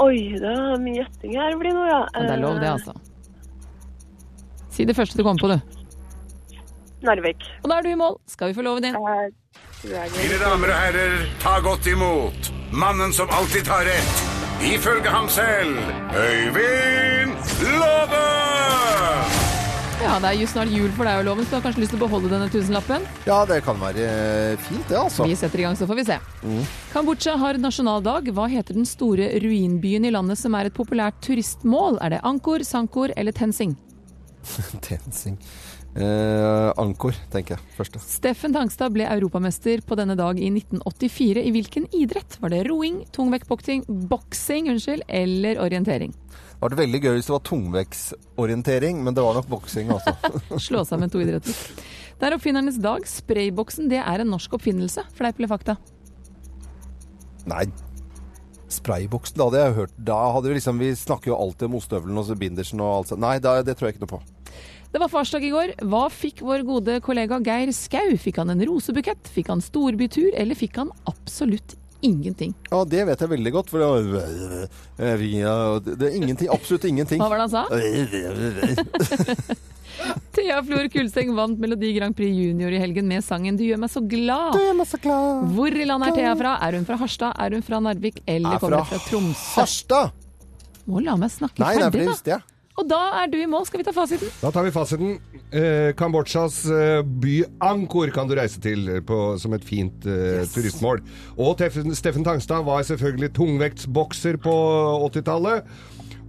[SPEAKER 5] Oi, det er mye gjetting her blir nå, ja. Eh,
[SPEAKER 1] Ja, det er lov, det, altså. Si det første du kommer på, du.
[SPEAKER 5] Eh, Narvik.
[SPEAKER 1] Og da er du i mål. Skal vi få loven din?
[SPEAKER 5] Eh, Dragons.
[SPEAKER 4] Mine damer og herrer, ta godt imot mannen som alltid tar rett. Ifølge ham selv Øyvind Låve!
[SPEAKER 1] Ja, det er jo snart jul for deg og loven, så du har kanskje lyst til å beholde denne tusenlappen?
[SPEAKER 3] Ja, det kan være ø, fint det, altså.
[SPEAKER 1] Vi setter i gang, så får vi se. Kambodsja har nasjonaldag. Hva heter den store ruinbyen i landet som er et populært turistmål? Er det Angkor, Sankor eller Tensing?
[SPEAKER 3] Tensing. Eh, ankor, tenker jeg først. da.
[SPEAKER 1] Steffen Tangstad ble europamester på denne dag i 1984. I hvilken idrett? Var det roing, tungvektboksing, boksing unnskyld, eller orientering?
[SPEAKER 3] Det hadde vært veldig gøy hvis det var tungvektsorientering, men det var nok boksing også.
[SPEAKER 1] Slå sammen to idretter. Det er oppfinnernes dag. Sprayboksen det er en norsk oppfinnelse. Fleip eller fakta?
[SPEAKER 3] Nei, sprayboksen, da hadde jeg hørt. Da hadde vi liksom, vi snakker jo alltid om ostehøvelen og så bindersen og alt sånt. Nei, da, det tror jeg ikke noe på.
[SPEAKER 1] Det var farsdag i går. Hva fikk vår gode kollega Geir Skau? Fikk han en rosebukett? Fikk han storbytur? Eller fikk han absolutt ingenting?
[SPEAKER 3] Ja, det vet jeg veldig godt, for det var Eh, Det det er ingenting, absolutt ingenting. Eh,
[SPEAKER 1] Hva var det han sa? Thea Flor Kulseng vant Melodi Grand Prix Junior i helgen med sangen 'Du gjør meg så glad'.
[SPEAKER 3] Jeg er masse glad.
[SPEAKER 1] Hvor i landet er Thea fra? Er hun fra Harstad, er hun fra Narvik eller
[SPEAKER 3] Er
[SPEAKER 1] kommer hun
[SPEAKER 3] fra
[SPEAKER 1] fra Tromsø?
[SPEAKER 3] Harstad!
[SPEAKER 1] Må la meg snakke
[SPEAKER 3] Nei, det er for
[SPEAKER 1] ferdig,
[SPEAKER 3] det
[SPEAKER 1] da.
[SPEAKER 3] visste jeg.
[SPEAKER 1] Og da er du i mål. Skal vi ta fasiten?
[SPEAKER 2] Da tar vi fasiten. Eh, Kambodsjas eh, by Angkor kan du reise til eh, på, som et fint eh, turistmål. Og Teffen, Steffen Tangstad var selvfølgelig tungvektsbokser på 80-tallet.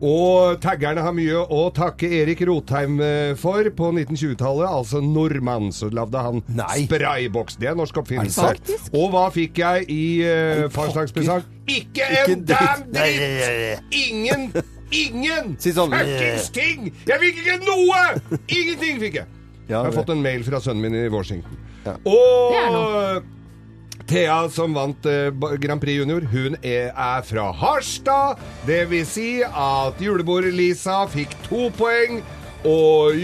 [SPEAKER 2] Og taggerne har mye å takke Erik Rotheim eh, for på 1920-tallet. Altså nordmann, så lagde han
[SPEAKER 3] Nei.
[SPEAKER 2] sprayboks. Det er norsk oppfinnelse.
[SPEAKER 3] Er det sant?
[SPEAKER 2] Og hva fikk jeg i eh, farsdagspresang? Ikke en
[SPEAKER 3] dritt.
[SPEAKER 2] damn
[SPEAKER 3] Nei, nei,
[SPEAKER 2] dritt!
[SPEAKER 3] nei, nei.
[SPEAKER 2] Ingen! Ingen!
[SPEAKER 3] Si sånn.
[SPEAKER 2] Fuckings ting! Jeg fikk ikke noe! Ingenting fikk jeg.
[SPEAKER 3] Ja,
[SPEAKER 2] jeg har
[SPEAKER 3] det-
[SPEAKER 2] fått en mail fra sønnen min i Washington.
[SPEAKER 3] Ja.
[SPEAKER 1] Det er
[SPEAKER 2] Og Thea, som vant eh, ba- Grand Prix Junior, hun er, er fra Harstad. Det vil si at julebord-Lisa fikk to poeng. Og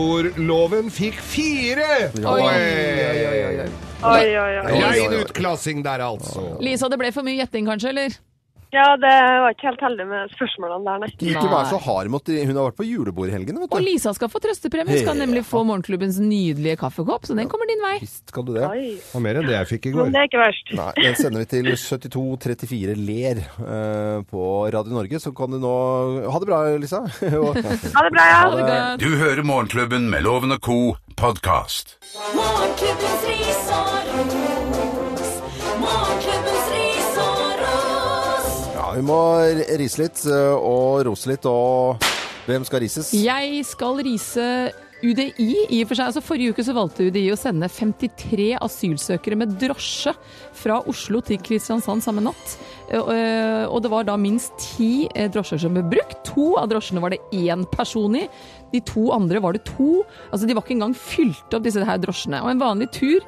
[SPEAKER 2] julebordloven fikk fire!
[SPEAKER 1] Oi.
[SPEAKER 2] Poeng!
[SPEAKER 5] Oi, oi, oi.
[SPEAKER 2] Rein utklassing der, altså.
[SPEAKER 1] Lisa, det ble for mye gjetting, kanskje? eller?
[SPEAKER 5] Ja, det var ikke helt heldig med spørsmålene der, nei.
[SPEAKER 3] Ikke vær så hard mot de- Hun har vært på julebord i helgen, vet
[SPEAKER 1] Og
[SPEAKER 3] du.
[SPEAKER 1] Lisa skal få trøstepremie. Hun skal nemlig få morgenklubbens nydelige kaffekopp, så den kommer din vei.
[SPEAKER 3] Visst skal du det.
[SPEAKER 5] Oi.
[SPEAKER 2] Og mer enn det jeg fikk i
[SPEAKER 5] Men
[SPEAKER 2] går.
[SPEAKER 5] det er ikke verst.
[SPEAKER 3] Nei, den sender vi til 7234 Ler eh, på Radio Norge. Så kan du nå Ha det bra, Lisa. Og-
[SPEAKER 5] Ha det bra, ja.
[SPEAKER 1] Ha det godt.
[SPEAKER 4] Du hører Morgenklubben med Loven og Co. podkast.
[SPEAKER 6] Morgenklubbens ris og ros. Morgenklubbens ris og ros.
[SPEAKER 3] ja, vi må rise litt eh, og rose litt, og hvem skal rises?
[SPEAKER 1] Jeg skal rise UDI i og for seg. Altså, forrige uke så valgte UDI å sende 53 asylsøkere med drosje fra Oslo til Kristiansand samme natt. Eh, eh, Og det var da minst ti eh, drosjer som ble brukt. To av drosjene var det én person i. De to andre var det to. Altså, de var ikke engang fylt opp, disse her drosjene. Og en vanlig tur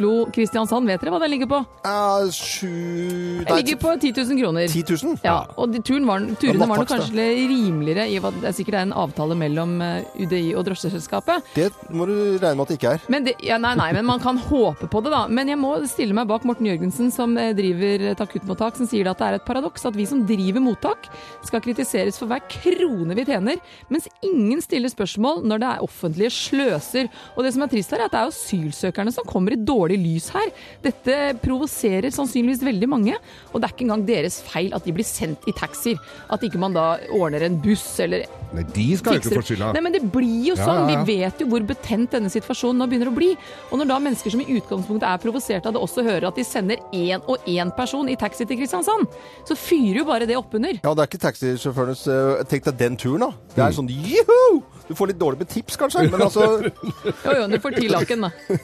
[SPEAKER 1] Oslo-Kristiansand, vet dere hva den ligger på?
[SPEAKER 3] Eh, sju
[SPEAKER 1] Den
[SPEAKER 3] Nei,
[SPEAKER 1] ligger på 10 000 kroner.
[SPEAKER 3] 10 000?
[SPEAKER 1] Ja, og de turen var, turene
[SPEAKER 3] Ja,
[SPEAKER 1] var nok
[SPEAKER 3] natttakst,
[SPEAKER 1] kanskje litt rimeligere i og med at det er sikkert er en avtale mellom eh, UDI og drosjeselskapet.
[SPEAKER 3] Det må du regne med at det ikke er.
[SPEAKER 1] Men det, ja, nei, nei, men man kan håpe på det, da. Men jeg må stille meg bak Morten Jørgensen, som eh, driver et akuttmottak, som sier at det er et paradoks at vi som driver mottak, skal kritiseres for hver krone vi tjener, mens ingen stiller spørsmål når det er offentlige sløser. Og det som er trist her, er at det er asylsøkerne som kommer i dårlig lys her. Dette provoserer sannsynligvis veldig mange, og det er ikke engang deres feil at de blir sendt i taxier. At ikke man da ordner en buss eller
[SPEAKER 2] Nei, de skal jo
[SPEAKER 1] fikser
[SPEAKER 2] ikke få skylda.
[SPEAKER 1] Nei, men det blir jo
[SPEAKER 2] Ja,
[SPEAKER 1] sånn.
[SPEAKER 2] ja, ja.
[SPEAKER 1] Vi vet jo hvor betent denne situasjonen nå begynner å bli. Og når da mennesker som i utgangspunktet er provosert av det, også hører at de sender én og én person i taxi til Kristiansand, så fyrer jo bare det oppunder.
[SPEAKER 3] Ja, det er ikke taxisjåførenes eh, Tenk deg den turen, da. Det er sånn juhu! Du får litt dårlig med tips, kanskje, men altså
[SPEAKER 1] Jo, jo, du får ti laken, da.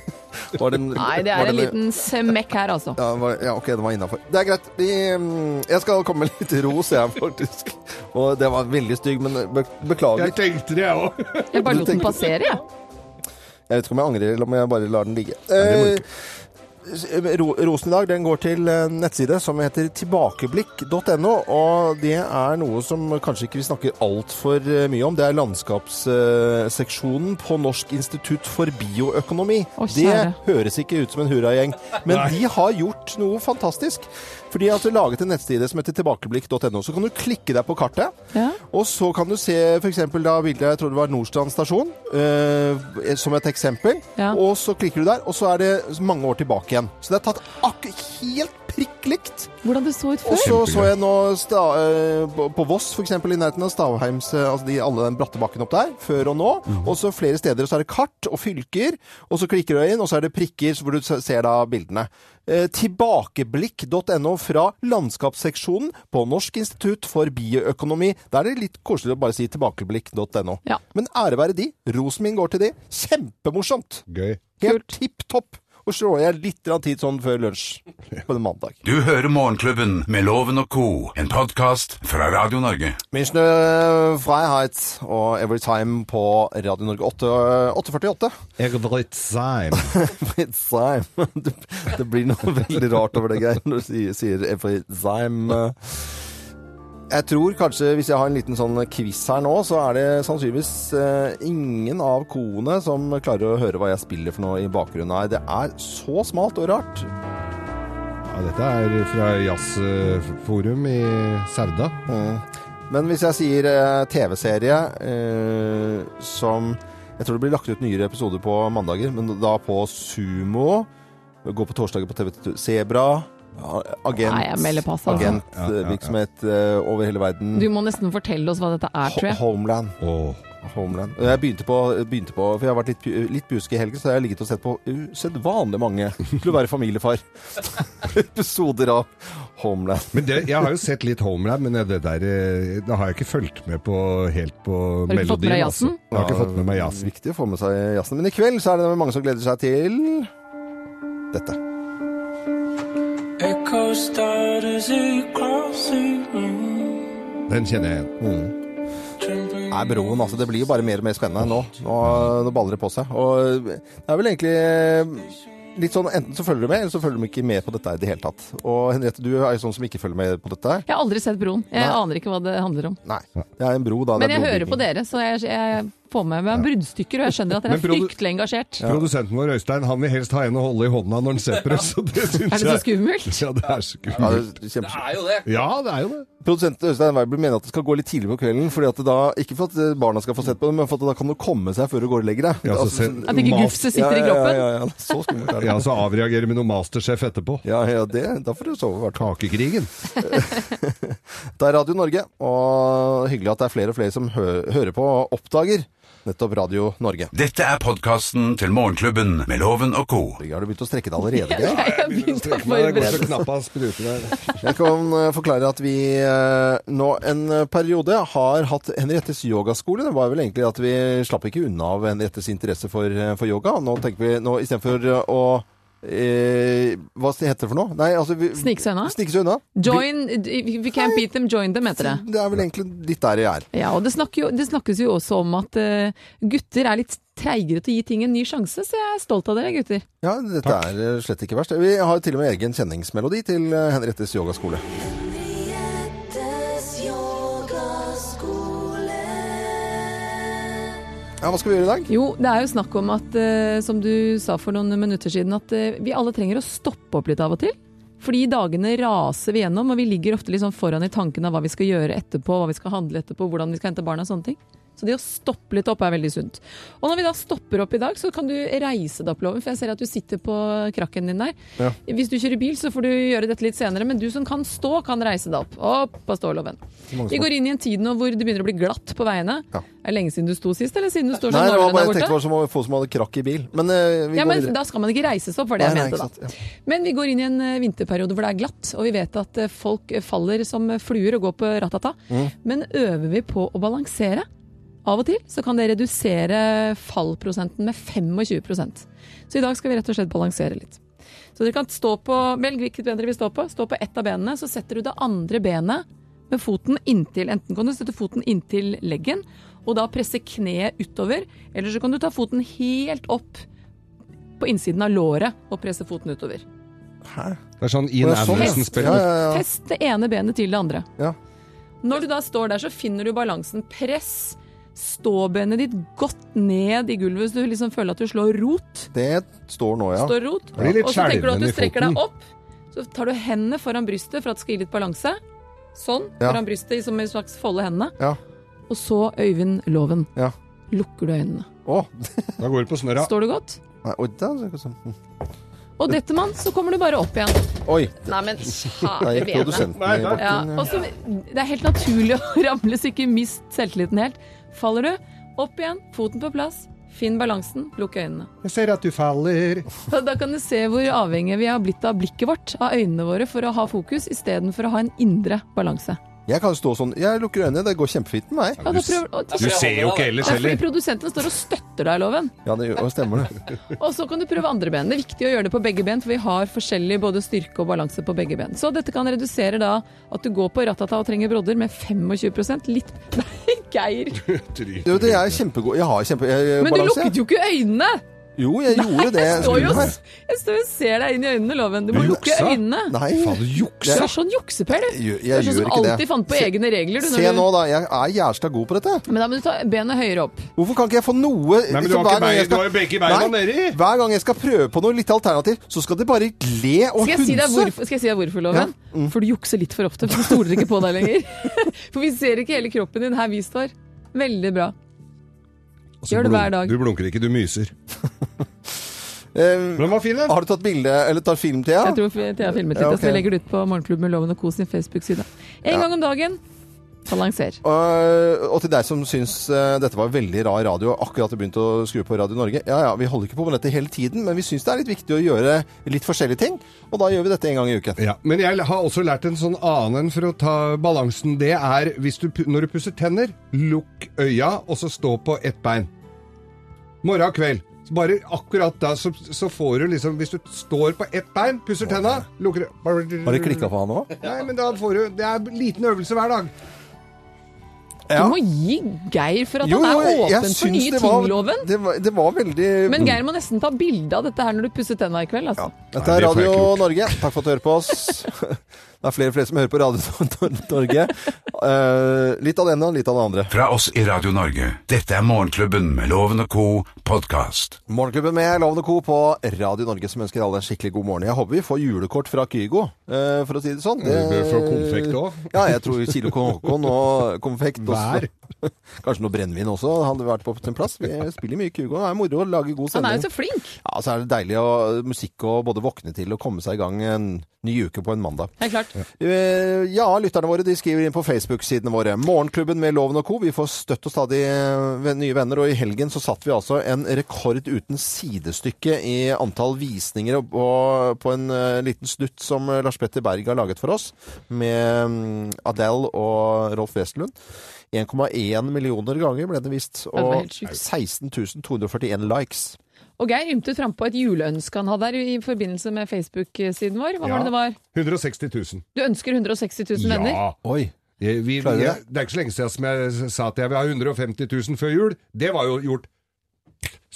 [SPEAKER 3] var den-
[SPEAKER 1] Nei, det
[SPEAKER 3] var
[SPEAKER 1] er en
[SPEAKER 3] den-
[SPEAKER 1] liten smekk her, altså.
[SPEAKER 3] Ja, den var, ja, OK, den var innafor. Det er greit. Vi, mm, jeg skal komme med litt ros, jeg, faktisk. Og det var veldig stygg, men be beklager.
[SPEAKER 2] Jeg
[SPEAKER 3] Jeg,
[SPEAKER 2] tenkte det, jeg òg.
[SPEAKER 1] Jeg bare
[SPEAKER 3] Du
[SPEAKER 1] lot den
[SPEAKER 3] tenker-
[SPEAKER 1] passere, jeg.
[SPEAKER 3] vet ikke om jeg angrer, eller om jeg bare lar den ligge.
[SPEAKER 2] det
[SPEAKER 3] Eh, ro, rosen i dag den går til eh, nettside som heter tilbakeblikk.no. Og det er noe som kanskje ikke vi snakker altfor mye om. Det er landskapsseksjonen eh, på Norsk institutt for bioøkonomi.
[SPEAKER 1] Å, kjære.
[SPEAKER 3] det høres ikke ut som en hurragjeng, men de har gjort noe fantastisk. For de har altså laget en nettside som heter tilbakeblikk.no. Så kan du klikke deg på kartet,
[SPEAKER 1] Ja.
[SPEAKER 3] og så kan du se f.eks. da bildet jeg tror det var Nordstrand stasjon, eh, som et eksempel.
[SPEAKER 1] Ja.
[SPEAKER 3] Og så klikker du der, og så er det mange år tilbake igjen. Så det er tatt ak helt prikk likt.
[SPEAKER 1] Hvordan det så ut
[SPEAKER 3] Og
[SPEAKER 1] før.
[SPEAKER 3] så så jeg nå sta, eh, på- på Voss, for eksempel, i nærheten av Stavheims, eh, altså de, alle den bratte bakken opp der, før og nå. Og så flere steder, og så er det kart og fylker, og så klikker du inn, og så er det prikker, så hvor du se- ser da bildene. Eh, tilbakeblikk.no fra landskapsseksjonen på Norsk institutt for bioøkonomi. Der er det litt koselig å bare si tilbakeblikk.no.
[SPEAKER 1] Ja.
[SPEAKER 3] Men ære være de. Rosen min går til de. Kjempemorsomt.
[SPEAKER 2] Gøy.
[SPEAKER 3] Helt tipp topp. Og så slår jeg litt grann tid sånn før lunsj på en mandag.
[SPEAKER 4] Du hører Morgenklubben med Loven og Co., en podkast fra Radio Norge.
[SPEAKER 3] Münchene eh, Freiheit og Everytime på Radio Norge eh, 8, 848. Everytime. Det, det blir noe veldig rart over det, Geir, når du sier, sier Everytime. Jeg tror kanskje, hvis jeg har en liten sånn quiz her nå, så er det sannsynligvis eh, ingen av koene som klarer å høre hva jeg spiller for noe i bakgrunnen her. Det er så smalt og rart.
[SPEAKER 2] Ja, dette er fra Jazzforum i Sauda.
[SPEAKER 3] Eh, Men hvis jeg sier eh, TV-serie eh, som Jeg tror det blir lagt ut nyere episoder på mandager, men da på Sumo. Gå på torsdager på TV Sebra. Ja, agent,
[SPEAKER 1] Nei, jeg melder pass, altså.
[SPEAKER 3] Agentvirksomhet eh, over hele verden.
[SPEAKER 1] Du må nesten fortelle oss hva dette er, tror jeg.
[SPEAKER 3] Ho- Homeland.
[SPEAKER 2] Åh.
[SPEAKER 3] Homeland. Jeg begynte på, begynte på For jeg har vært litt, pu- litt pjusk i helgen, så jeg har ligget og sett på usedvanlig mange til å være familiefar. Episoder av Homeland.
[SPEAKER 2] Men det, jeg har jo sett litt Homeland, men det der eh, Da har jeg ikke fulgt med på helt på
[SPEAKER 1] Har du ikke fått med deg
[SPEAKER 2] melodien. altså.
[SPEAKER 1] jazzen?
[SPEAKER 2] Jeg har ikke fått med meg jazzen.
[SPEAKER 3] Viktig å få med seg jazzen. Men i kveld så er det mange som gleder seg til dette.
[SPEAKER 8] Echo stutters across the room.
[SPEAKER 2] Den kjenner jeg igjen.
[SPEAKER 3] Nei, broen, altså. Det blir jo bare mer og mer spennende nå. Nå, nå baller det på seg. Og det er vel egentlig litt sånn enten så følger du med, eller så følger du ikke med på dette i det hele tatt. Og Henriette, du er jo sånn som ikke følger med på dette.
[SPEAKER 1] Jeg har aldri sett Broen. Jeg
[SPEAKER 3] Nei.
[SPEAKER 1] aner ikke hva det handler om.
[SPEAKER 3] Nei. Det er en bro, da.
[SPEAKER 1] Men
[SPEAKER 3] det er
[SPEAKER 1] jeg hører på
[SPEAKER 3] brobygging.
[SPEAKER 1] dere, så jeg, jeg får med meg bruddstykker, og jeg skjønner at dere
[SPEAKER 2] Men
[SPEAKER 1] er
[SPEAKER 2] produ-
[SPEAKER 1] fryktelig engasjert.
[SPEAKER 2] Produsenten vår Øystein han vil helst ha en å holde i hånda når han ser på oss. så det
[SPEAKER 1] Er
[SPEAKER 2] synes
[SPEAKER 1] det så
[SPEAKER 2] jeg-
[SPEAKER 1] skummelt?
[SPEAKER 2] Ja, det er så
[SPEAKER 3] Ja,
[SPEAKER 2] skummelt.
[SPEAKER 3] det er kjempe...
[SPEAKER 10] er jo det.
[SPEAKER 2] Ja, det er jo det.
[SPEAKER 3] Produsent Øystein Weiber mener at det skal gå litt tidlig på kvelden, fordi at det da, ikke for at barna skal få sett på det, men for at da kan du komme seg før du går og legger deg.
[SPEAKER 2] Ja, så
[SPEAKER 3] Altså,
[SPEAKER 2] send-
[SPEAKER 1] At ikke
[SPEAKER 2] mas-
[SPEAKER 1] gufset sitter i
[SPEAKER 3] ja,
[SPEAKER 1] kroppen?
[SPEAKER 3] Ja, ja, ja. Så skummelt er det.
[SPEAKER 2] Ja, så avreagerer med noe Masterchef etterpå.
[SPEAKER 3] Ja, ja, det, da får du sove i hvert fall.
[SPEAKER 2] Kakekrigen.
[SPEAKER 3] Det er Radio Norge, og hyggelig at det er flere og flere som hø hører på og oppdager nettopp Radio Norge.
[SPEAKER 4] Dette er podkasten til Morgenklubben med Loven og co.
[SPEAKER 3] Har du begynt å strekke deg allerede? Geir?
[SPEAKER 1] Jeg har begynt å
[SPEAKER 2] Nei, det går
[SPEAKER 1] forberede
[SPEAKER 2] så knapp av spruten der.
[SPEAKER 3] Jeg kan eh, forklare at vi eh, nå en periode har hatt Henriettes yogaskole. Det var vel egentlig at vi slapp ikke unna av Henriettes interesse for, eh, for yoga. Nå tenker vi nå istedenfor eh, å eh, Hva heter det for noe? Nei, altså vi,
[SPEAKER 1] Snike seg unna?
[SPEAKER 3] Snike seg unna.
[SPEAKER 1] Join, if we can't beat them, join them, heter det.
[SPEAKER 3] Det er vel egentlig litt der jeg er.
[SPEAKER 1] Ja, og det, snakker jo, det snakkes jo også om at eh, gutter er litt treigere til å gi ting en ny sjanse, så jeg er stolt av dere, gutter.
[SPEAKER 3] Ja, dette er eh, slett ikke verst. Vi har jo til og med egen kjenningsmelodi til eh, Henriettes yogaskole.
[SPEAKER 6] Henriettes yogaskole.
[SPEAKER 3] Ja, hva skal vi gjøre i dag?
[SPEAKER 1] Jo, det er jo snakk om at, eh, som du sa for noen minutter siden, at eh, vi alle trenger å stoppe opp litt av og til. Fordi dagene raser vi gjennom, og vi ligger ofte litt sånn foran i tanken av hva vi skal gjøre etterpå, hva vi skal handle etterpå, hvordan vi skal hente barna og sånne ting. Så det å stoppe litt opp er veldig sunt. Og når vi da stopper opp i dag, så kan du reise deg opp, Loven, for jeg ser at du sitter på krakken din der. Hvis du kjører bil, så får du gjøre dette litt senere, men du som kan stå, kan reise deg opp. Opp og stå, Loven. Vi går inn i en tid nå hvor det begynner å bli glatt på veiene.
[SPEAKER 3] Ja.
[SPEAKER 1] Er det lenge siden du sto sist, eller siden du står
[SPEAKER 3] Nei,
[SPEAKER 1] sånn
[SPEAKER 3] det var
[SPEAKER 1] noenlunde
[SPEAKER 3] bare, jeg
[SPEAKER 1] borte?
[SPEAKER 3] tenkte det var som å få som hadde krakk i bil. Men eh, vi
[SPEAKER 1] Ja,
[SPEAKER 3] går
[SPEAKER 1] men
[SPEAKER 3] videre.
[SPEAKER 1] da skal man ikke reise seg opp, var det
[SPEAKER 3] Nei,
[SPEAKER 1] jeg
[SPEAKER 3] nei,
[SPEAKER 1] mente
[SPEAKER 3] ikke
[SPEAKER 1] da.
[SPEAKER 3] sant,
[SPEAKER 1] Men vi går inn i en eh, vinterperiode hvor det er glatt, og vi vet at eh, folk faller som fluer og går på ratata.
[SPEAKER 3] Mm.
[SPEAKER 1] Men øver vi på å balansere av og til, så kan det redusere fallprosenten med 25 Så i dag skal vi rett og slett balansere litt. Så dere kan stå på, velg hvilket ben dere vil stå på. Stå på ett av benene, så setter du det andre benet med foten inntil, enten kan du sette foten inntil leggen, og da presse kneet utover, eller så kan du ta foten helt opp på innsiden av låret og presse foten utover.
[SPEAKER 2] Det er
[SPEAKER 3] Å,
[SPEAKER 2] sånn Ian
[SPEAKER 3] ja, sånn, ja.
[SPEAKER 2] Anderson-spill.
[SPEAKER 3] Ja, ja, ja.
[SPEAKER 1] Test det ene benet til det andre.
[SPEAKER 3] Ja.
[SPEAKER 1] Når du da står der, så finner du balansen. Press ståbenet ditt godt ned i gulvet, så du liksom føler at du slår rot.
[SPEAKER 3] Det står nå, ja.
[SPEAKER 1] Står rot.
[SPEAKER 2] Blir litt
[SPEAKER 1] Og så tenker du at
[SPEAKER 2] skjelven
[SPEAKER 1] du
[SPEAKER 2] i
[SPEAKER 1] strekker
[SPEAKER 2] foten.
[SPEAKER 1] deg opp. Så tar du hendene foran brystet for at det skal gi litt balanse. Sånn,
[SPEAKER 3] Ja.
[SPEAKER 1] foran brystet, som en slags folde hendene.
[SPEAKER 3] Ja.
[SPEAKER 1] Og så Øyvind Loven.
[SPEAKER 3] Ja.
[SPEAKER 1] Lukker du øynene.
[SPEAKER 3] Å,
[SPEAKER 2] Da går det på snørra.
[SPEAKER 1] Står du godt?
[SPEAKER 3] nei, oi, der, sånn.
[SPEAKER 1] Og detter man, så kommer du bare opp igjen.
[SPEAKER 3] oi,
[SPEAKER 1] Nei, men
[SPEAKER 3] der
[SPEAKER 1] kjære
[SPEAKER 3] gikk
[SPEAKER 1] vene.
[SPEAKER 3] produsenten i
[SPEAKER 1] Ja,
[SPEAKER 3] bakken.
[SPEAKER 2] eh,
[SPEAKER 1] og så- det er helt naturlig å ramle, så ikke mist selvtilliten helt. Faller du, opp igjen, foten på plass, finn balansen, lukk øynene.
[SPEAKER 2] Jeg ser at du faller.
[SPEAKER 1] Og Da kan du se hvor avhengig vi har blitt av blikket vårt, av øynene våre, for å ha fokus istedenfor å ha en indre balanse.
[SPEAKER 3] Jeg kan stå sånn Jeg lukker øynene, det går kjempefint med meg.
[SPEAKER 1] Ja, da prøver, og,
[SPEAKER 2] Du ser jo ikke ellers
[SPEAKER 1] det er fordi
[SPEAKER 2] heller.
[SPEAKER 1] produsenten står og støtter deg, Loven.
[SPEAKER 3] Ja, det gjør, stemmer det.
[SPEAKER 1] Og så kan du prøve andre ben. Det er viktig å gjøre det på begge ben, for vi har forskjellig både styrke og balanse på begge ben. Så dette kan redusere da at du går på ratata og trenger brodder med 25 Litt Nei, Geir!
[SPEAKER 3] Du, det jeg er kjempegod Jeg har kjempe... Jeg, jeg,
[SPEAKER 1] Men du lukket jo ikke øynene!
[SPEAKER 3] Jo, jeg gjorde det.
[SPEAKER 1] Jeg står jo
[SPEAKER 3] skulle her.
[SPEAKER 1] jeg står jo og ser deg inn i øynene, Loven. Du må
[SPEAKER 2] Du
[SPEAKER 1] lukke
[SPEAKER 2] juksa.
[SPEAKER 1] øynene.
[SPEAKER 3] Nei.
[SPEAKER 2] Faen, du
[SPEAKER 1] Du
[SPEAKER 2] jukser!
[SPEAKER 1] er sånn jukseper, du.
[SPEAKER 3] Jeg,
[SPEAKER 1] Du er
[SPEAKER 3] jeg
[SPEAKER 1] sånn
[SPEAKER 3] gjør
[SPEAKER 1] som
[SPEAKER 3] ikke det.
[SPEAKER 1] alltid fant på egne regler. Du, når du-
[SPEAKER 3] Se nå, da. Jeg er jævla god på dette.
[SPEAKER 1] Men da må du ta benet høyere opp.
[SPEAKER 3] Hvorfor kan ikke jeg få noe
[SPEAKER 2] men du
[SPEAKER 3] liksom,
[SPEAKER 2] har
[SPEAKER 3] hver
[SPEAKER 2] ikke
[SPEAKER 3] gang jeg
[SPEAKER 2] bein- du har jo begge beina
[SPEAKER 3] Nei,
[SPEAKER 2] nedi.
[SPEAKER 3] Hver gang jeg skal prøve på noe litt alternativ, så skal det bare le og
[SPEAKER 1] Skal jeg, si deg
[SPEAKER 3] hunse.
[SPEAKER 1] hvorfor, skal jeg si deg hvorfor, Loven?
[SPEAKER 3] mm.
[SPEAKER 1] For du jukser litt for ofte. For vi stoler ikke på deg lenger. For vi ser ikke hele kroppen din her vi står. Veldig bra.
[SPEAKER 2] Og så
[SPEAKER 1] Gjør det
[SPEAKER 2] Altså, blunk-
[SPEAKER 1] hver dag.
[SPEAKER 2] Du blunker ikke, du myser.
[SPEAKER 3] Eh,
[SPEAKER 2] Den var fin, den.
[SPEAKER 3] har du tatt bilde, eller tatt film, Thea?
[SPEAKER 1] Jeg tror Thea filmet litt,
[SPEAKER 3] Ah. Ja, ok.
[SPEAKER 1] så vi legger det ut på Morgenklubben med Loven og Co. sin Facebook-side. En gang om dagen. Balanser.
[SPEAKER 3] Eh, Og, og til deg som syns eh, dette var veldig rar radio, akkurat du begynte å skru på Radio Norge. Ja ja, vi holder ikke på med dette hele tiden, men vi syns det er litt viktig å gjøre litt forskjellige ting. Og da gjør vi dette en gang i uken.
[SPEAKER 2] Ja, men jeg har også lært en sånn annen en for å ta balansen. Det er hvis du, pu- når du pusser tenner, lukk øya og så stå på ett bein. Morgen og kveld. Så bare akkurat da så, så får du liksom Hvis du står på ett bein, pusser tenna, lukker
[SPEAKER 3] Har det klikka for han òg?
[SPEAKER 2] Nei, men da får du Det er en liten øvelse hver dag.
[SPEAKER 3] Ja.
[SPEAKER 1] Du må gi Geir for at han er åpen for nye ting, Loven.
[SPEAKER 3] Det var, det var veldig
[SPEAKER 1] Men Geir må nesten ta bilde av dette her når du pusser tenna i kveld. Altså.
[SPEAKER 3] Dette
[SPEAKER 2] Nei,
[SPEAKER 3] er
[SPEAKER 2] det får jeg
[SPEAKER 3] Radio
[SPEAKER 2] ikke gjort.
[SPEAKER 3] Norge. Takk for at du hører på oss. Det er flere og flere som hører på Radio Nor- Norge. Eh, litt av det ene og litt av det andre.
[SPEAKER 4] Fra oss i Radio Norge. Dette er Morgenklubben med Loven og co. podkast.
[SPEAKER 3] Morgenklubben med Loven og Co. på Radio Norge som ønsker alle en skikkelig god morgen. Jeg håper vi får julekort fra Kygo, eh, for å si det sånn.
[SPEAKER 2] Ja, vi bør få konfekt også.
[SPEAKER 3] Ja, jeg tror kilo kokon og konfekt.
[SPEAKER 2] Hver.
[SPEAKER 3] Også. Kanskje noe brennevin også hadde vært på sin plass. Vi spiller mye Kygo. Det er moro å lage god
[SPEAKER 1] Han er
[SPEAKER 3] sending.
[SPEAKER 1] jo så flink.
[SPEAKER 3] Ja, så er det deilig å, musikk å både våkne til og komme seg i gang en ny uke på en mandag.
[SPEAKER 1] Det er klart.
[SPEAKER 3] Eh, Ja, lytterne våre de skriver inn på Facebook-sidene våre. Morgenklubben med Loven og Co. Vi får støtt og stadig eh, ven- nye venner, og i helgen så satt vi altså en rekord uten sidestykke i antall visninger og- og på en eh, liten snutt som eh, Lars Petter Berg har laget for oss, med mm, Adele og Rolf Westerlund. 1,1 millioner ganger ble den vist,
[SPEAKER 1] det var
[SPEAKER 3] og
[SPEAKER 1] helt sjukt.
[SPEAKER 3] 16 241 likes.
[SPEAKER 1] Og Geir ymtet frampå et juleønske han hadde her i i forbindelse med Facebook-siden vår. Hva
[SPEAKER 2] Ja.
[SPEAKER 1] var det det var?
[SPEAKER 2] 160 000.
[SPEAKER 1] Du ønsker 160 000 venner?
[SPEAKER 2] Ja.
[SPEAKER 3] Oi.
[SPEAKER 2] Eh, Vi,
[SPEAKER 3] Klarer du
[SPEAKER 2] jeg,
[SPEAKER 3] det?
[SPEAKER 2] det er ikke så lenge siden som jeg sa at jeg vil ha 150 000 før jul. Det var jo gjort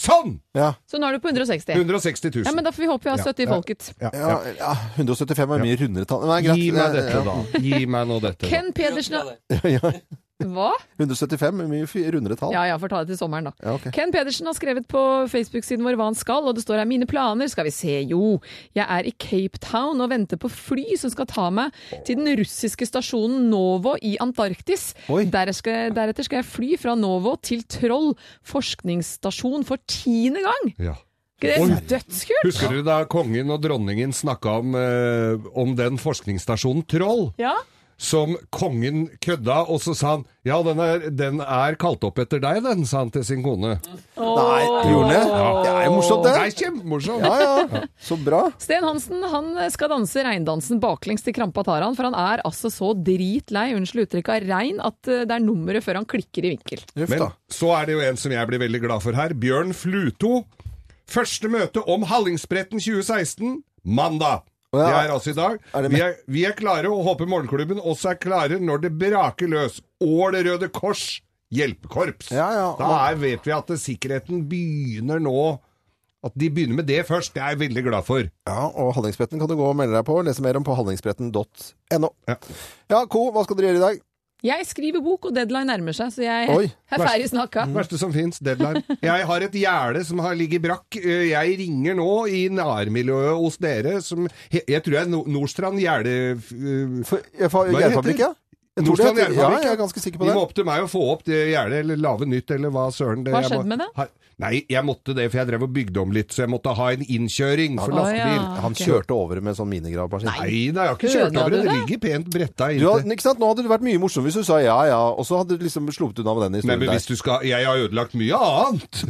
[SPEAKER 2] sånn!
[SPEAKER 3] Ja.
[SPEAKER 1] Så nå er du på 160.
[SPEAKER 2] 160 000.
[SPEAKER 1] Ja, men da får vi håpe vi har
[SPEAKER 2] Ja.
[SPEAKER 1] støtte i folket.
[SPEAKER 2] Ja, ja.
[SPEAKER 3] Ja, ja, 175 er mye rundere tall. Nei, greit.
[SPEAKER 2] Gi meg
[SPEAKER 3] Ja,
[SPEAKER 2] dette, da. Gi meg nå dette. da.
[SPEAKER 1] Ken Pedersen Hva?
[SPEAKER 3] 175 er mye fi- rundere tall.
[SPEAKER 1] Ja ja, får ta det til sommeren, da.
[SPEAKER 3] Ja, ok.
[SPEAKER 1] Ken Pedersen har skrevet på Facebook-siden vår hva han skal, og det står her 'Mine planer'. Skal vi se, jo. Jeg er i Cape Town og venter på fly som skal ta meg til den russiske stasjonen Novo i Antarktis.
[SPEAKER 3] Oi.
[SPEAKER 1] Der skal, deretter skal jeg fly fra Novo til Troll forskningsstasjon for tiende gang!
[SPEAKER 2] Ja.
[SPEAKER 1] Ikke det
[SPEAKER 2] Oi.
[SPEAKER 1] er dødskult?
[SPEAKER 2] Husker du da kongen og dronningen snakka om, eh, om den forskningsstasjonen Troll?
[SPEAKER 1] Ja.
[SPEAKER 2] Som kongen kødda, og så sa han ja, den er, den er kalt opp etter deg, den, sa han til sin kone.
[SPEAKER 3] Nei, gjorde det? Det er jo morsomt,
[SPEAKER 2] Det
[SPEAKER 3] det.
[SPEAKER 2] er kjempemorsomt!
[SPEAKER 3] Ja, ja. Så bra.
[SPEAKER 1] Sten Hansen han skal danse reindansen baklengs til krampa tar han, for han er altså så dritlei, unnskyld uttrykket, av rein at eh, det er nummeret før han klikker i vinkel.
[SPEAKER 3] Uff
[SPEAKER 2] Men
[SPEAKER 3] da.
[SPEAKER 2] så er det jo en som jeg blir veldig glad for her. Bjørn Fluto. Første møte om Hallingsbretten 2016 mandag. Det
[SPEAKER 3] ja.
[SPEAKER 2] er altså i dag.
[SPEAKER 3] Er det
[SPEAKER 2] vi,
[SPEAKER 3] med-
[SPEAKER 2] er, vi er klare og håper morgenklubben også er klare når det braker løs. Ål Røde Kors hjelpekorps.
[SPEAKER 3] Ja, ja.
[SPEAKER 2] Da er, vet vi at det- sikkerheten begynner nå. At de begynner med det først, det er jeg veldig glad for.
[SPEAKER 3] Ja, og Hallingsbretten kan du gå og melde deg på. Lese mer om på hallingsbretten.no.
[SPEAKER 2] Ja.
[SPEAKER 3] Ja, Co, hva skal dere gjøre i dag?
[SPEAKER 1] Jeg skriver bok, og deadline nærmer seg, så jeg
[SPEAKER 3] Oi.
[SPEAKER 1] er ferdig snakka.
[SPEAKER 3] Mm.
[SPEAKER 2] Verste som fins, deadline. Jeg har et gjerde som har ligget brakk. Eh, Jeg ringer nå i nærmiljøet hos dere som Jeg tror jeg er No- Nordstrand gjerde...
[SPEAKER 3] For, jeg, for,
[SPEAKER 2] Hva heter det?
[SPEAKER 3] Gjærfabrikk, ja? Jeg tror
[SPEAKER 2] Nordstrand
[SPEAKER 3] det heter-
[SPEAKER 2] Gjærfabrikk,
[SPEAKER 3] Ja, jeg er ganske sikker på
[SPEAKER 2] De
[SPEAKER 3] det.
[SPEAKER 2] må opp til meg og få opp det gjerdet, eller lage nytt, eller hva søren det
[SPEAKER 1] Hva
[SPEAKER 2] jeg
[SPEAKER 1] skjedde
[SPEAKER 2] må-
[SPEAKER 1] med det?
[SPEAKER 2] Har- Nei, jeg måtte det, for jeg drev og bygde om litt, så jeg måtte ha en innkjøring for
[SPEAKER 1] Å,
[SPEAKER 2] lastebil.
[SPEAKER 1] ja.
[SPEAKER 3] Han
[SPEAKER 1] Ok.
[SPEAKER 3] kjørte over med sånn minigravemaskin.
[SPEAKER 2] Nei da, jeg har ikke
[SPEAKER 1] Skjønner
[SPEAKER 2] kjørt over det.
[SPEAKER 1] du
[SPEAKER 2] Det
[SPEAKER 1] det?
[SPEAKER 2] ligger pent bretta
[SPEAKER 3] Du hadde,
[SPEAKER 2] inntil.
[SPEAKER 3] ikke sant? Nå hadde det vært mye morsomt hvis du sa ja ja, og så hadde du liksom sluppet unna med den
[SPEAKER 2] Nei,
[SPEAKER 3] historien
[SPEAKER 2] men hvis
[SPEAKER 3] der.
[SPEAKER 2] du skal Jeg har ødelagt mye annet!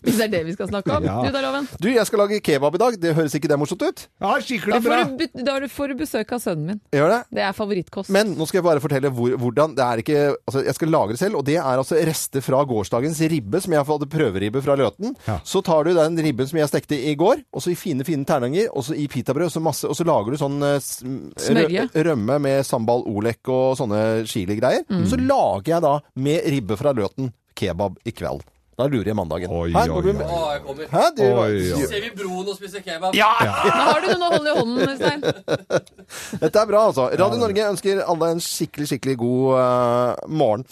[SPEAKER 1] Hvis det er det vi skal snakke om.
[SPEAKER 2] Ja.
[SPEAKER 1] Du, da, Loven.
[SPEAKER 3] Du, jeg skal lage kebab i dag. Det høres ikke det morsomt ut?
[SPEAKER 2] Ja,
[SPEAKER 1] Da
[SPEAKER 2] skikkelig bra!
[SPEAKER 1] får, du, be- da får du besøk av sønnen min.
[SPEAKER 3] Gjør det?
[SPEAKER 1] Det er favorittkost.
[SPEAKER 3] Men nå skal jeg bare fortelle hvor, hvordan det er ikke, altså Jeg skal lagre selv, og det er altså rester fra gårsdagens ribbe, som jeg hadde prøveribbe fra Løten.
[SPEAKER 2] Ja.
[SPEAKER 3] Så tar du den ribben som jeg stekte i går, og så i fine, fine terninger, og så i pitabrød, så masse, og så lager du sånn eh, sm-
[SPEAKER 1] Smørje.
[SPEAKER 3] rø- rømme med sambal olek og sånne chiligreier. Så lager jeg da med ribbe fra Løten kebab i kveld. Da lurer jeg mandagen.
[SPEAKER 2] Oi,
[SPEAKER 3] Hæ?
[SPEAKER 2] oi,
[SPEAKER 3] Nå blir-
[SPEAKER 2] oi.
[SPEAKER 3] Hæ? Du,
[SPEAKER 2] Oi, oi.
[SPEAKER 11] Ser vi broen og spiser kebab?
[SPEAKER 1] Nå har du noen å holde i hånden, Stein.
[SPEAKER 3] Dette er bra, altså. Radio Norge ønsker alle en skikkelig, skikkelig god eh, morgen.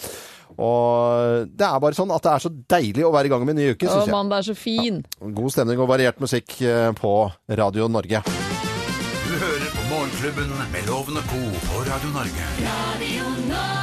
[SPEAKER 3] Og det er bare sånn at det er så deilig å være i gang med en ny uke,
[SPEAKER 1] Å,
[SPEAKER 3] syns jeg.
[SPEAKER 1] mann, det er så fin.
[SPEAKER 3] God stemning og variert musikk eh, på Radio Norge.
[SPEAKER 4] Du hører på Morgenklubben med Loven og co. på Radio Norge.
[SPEAKER 6] Radio Norge.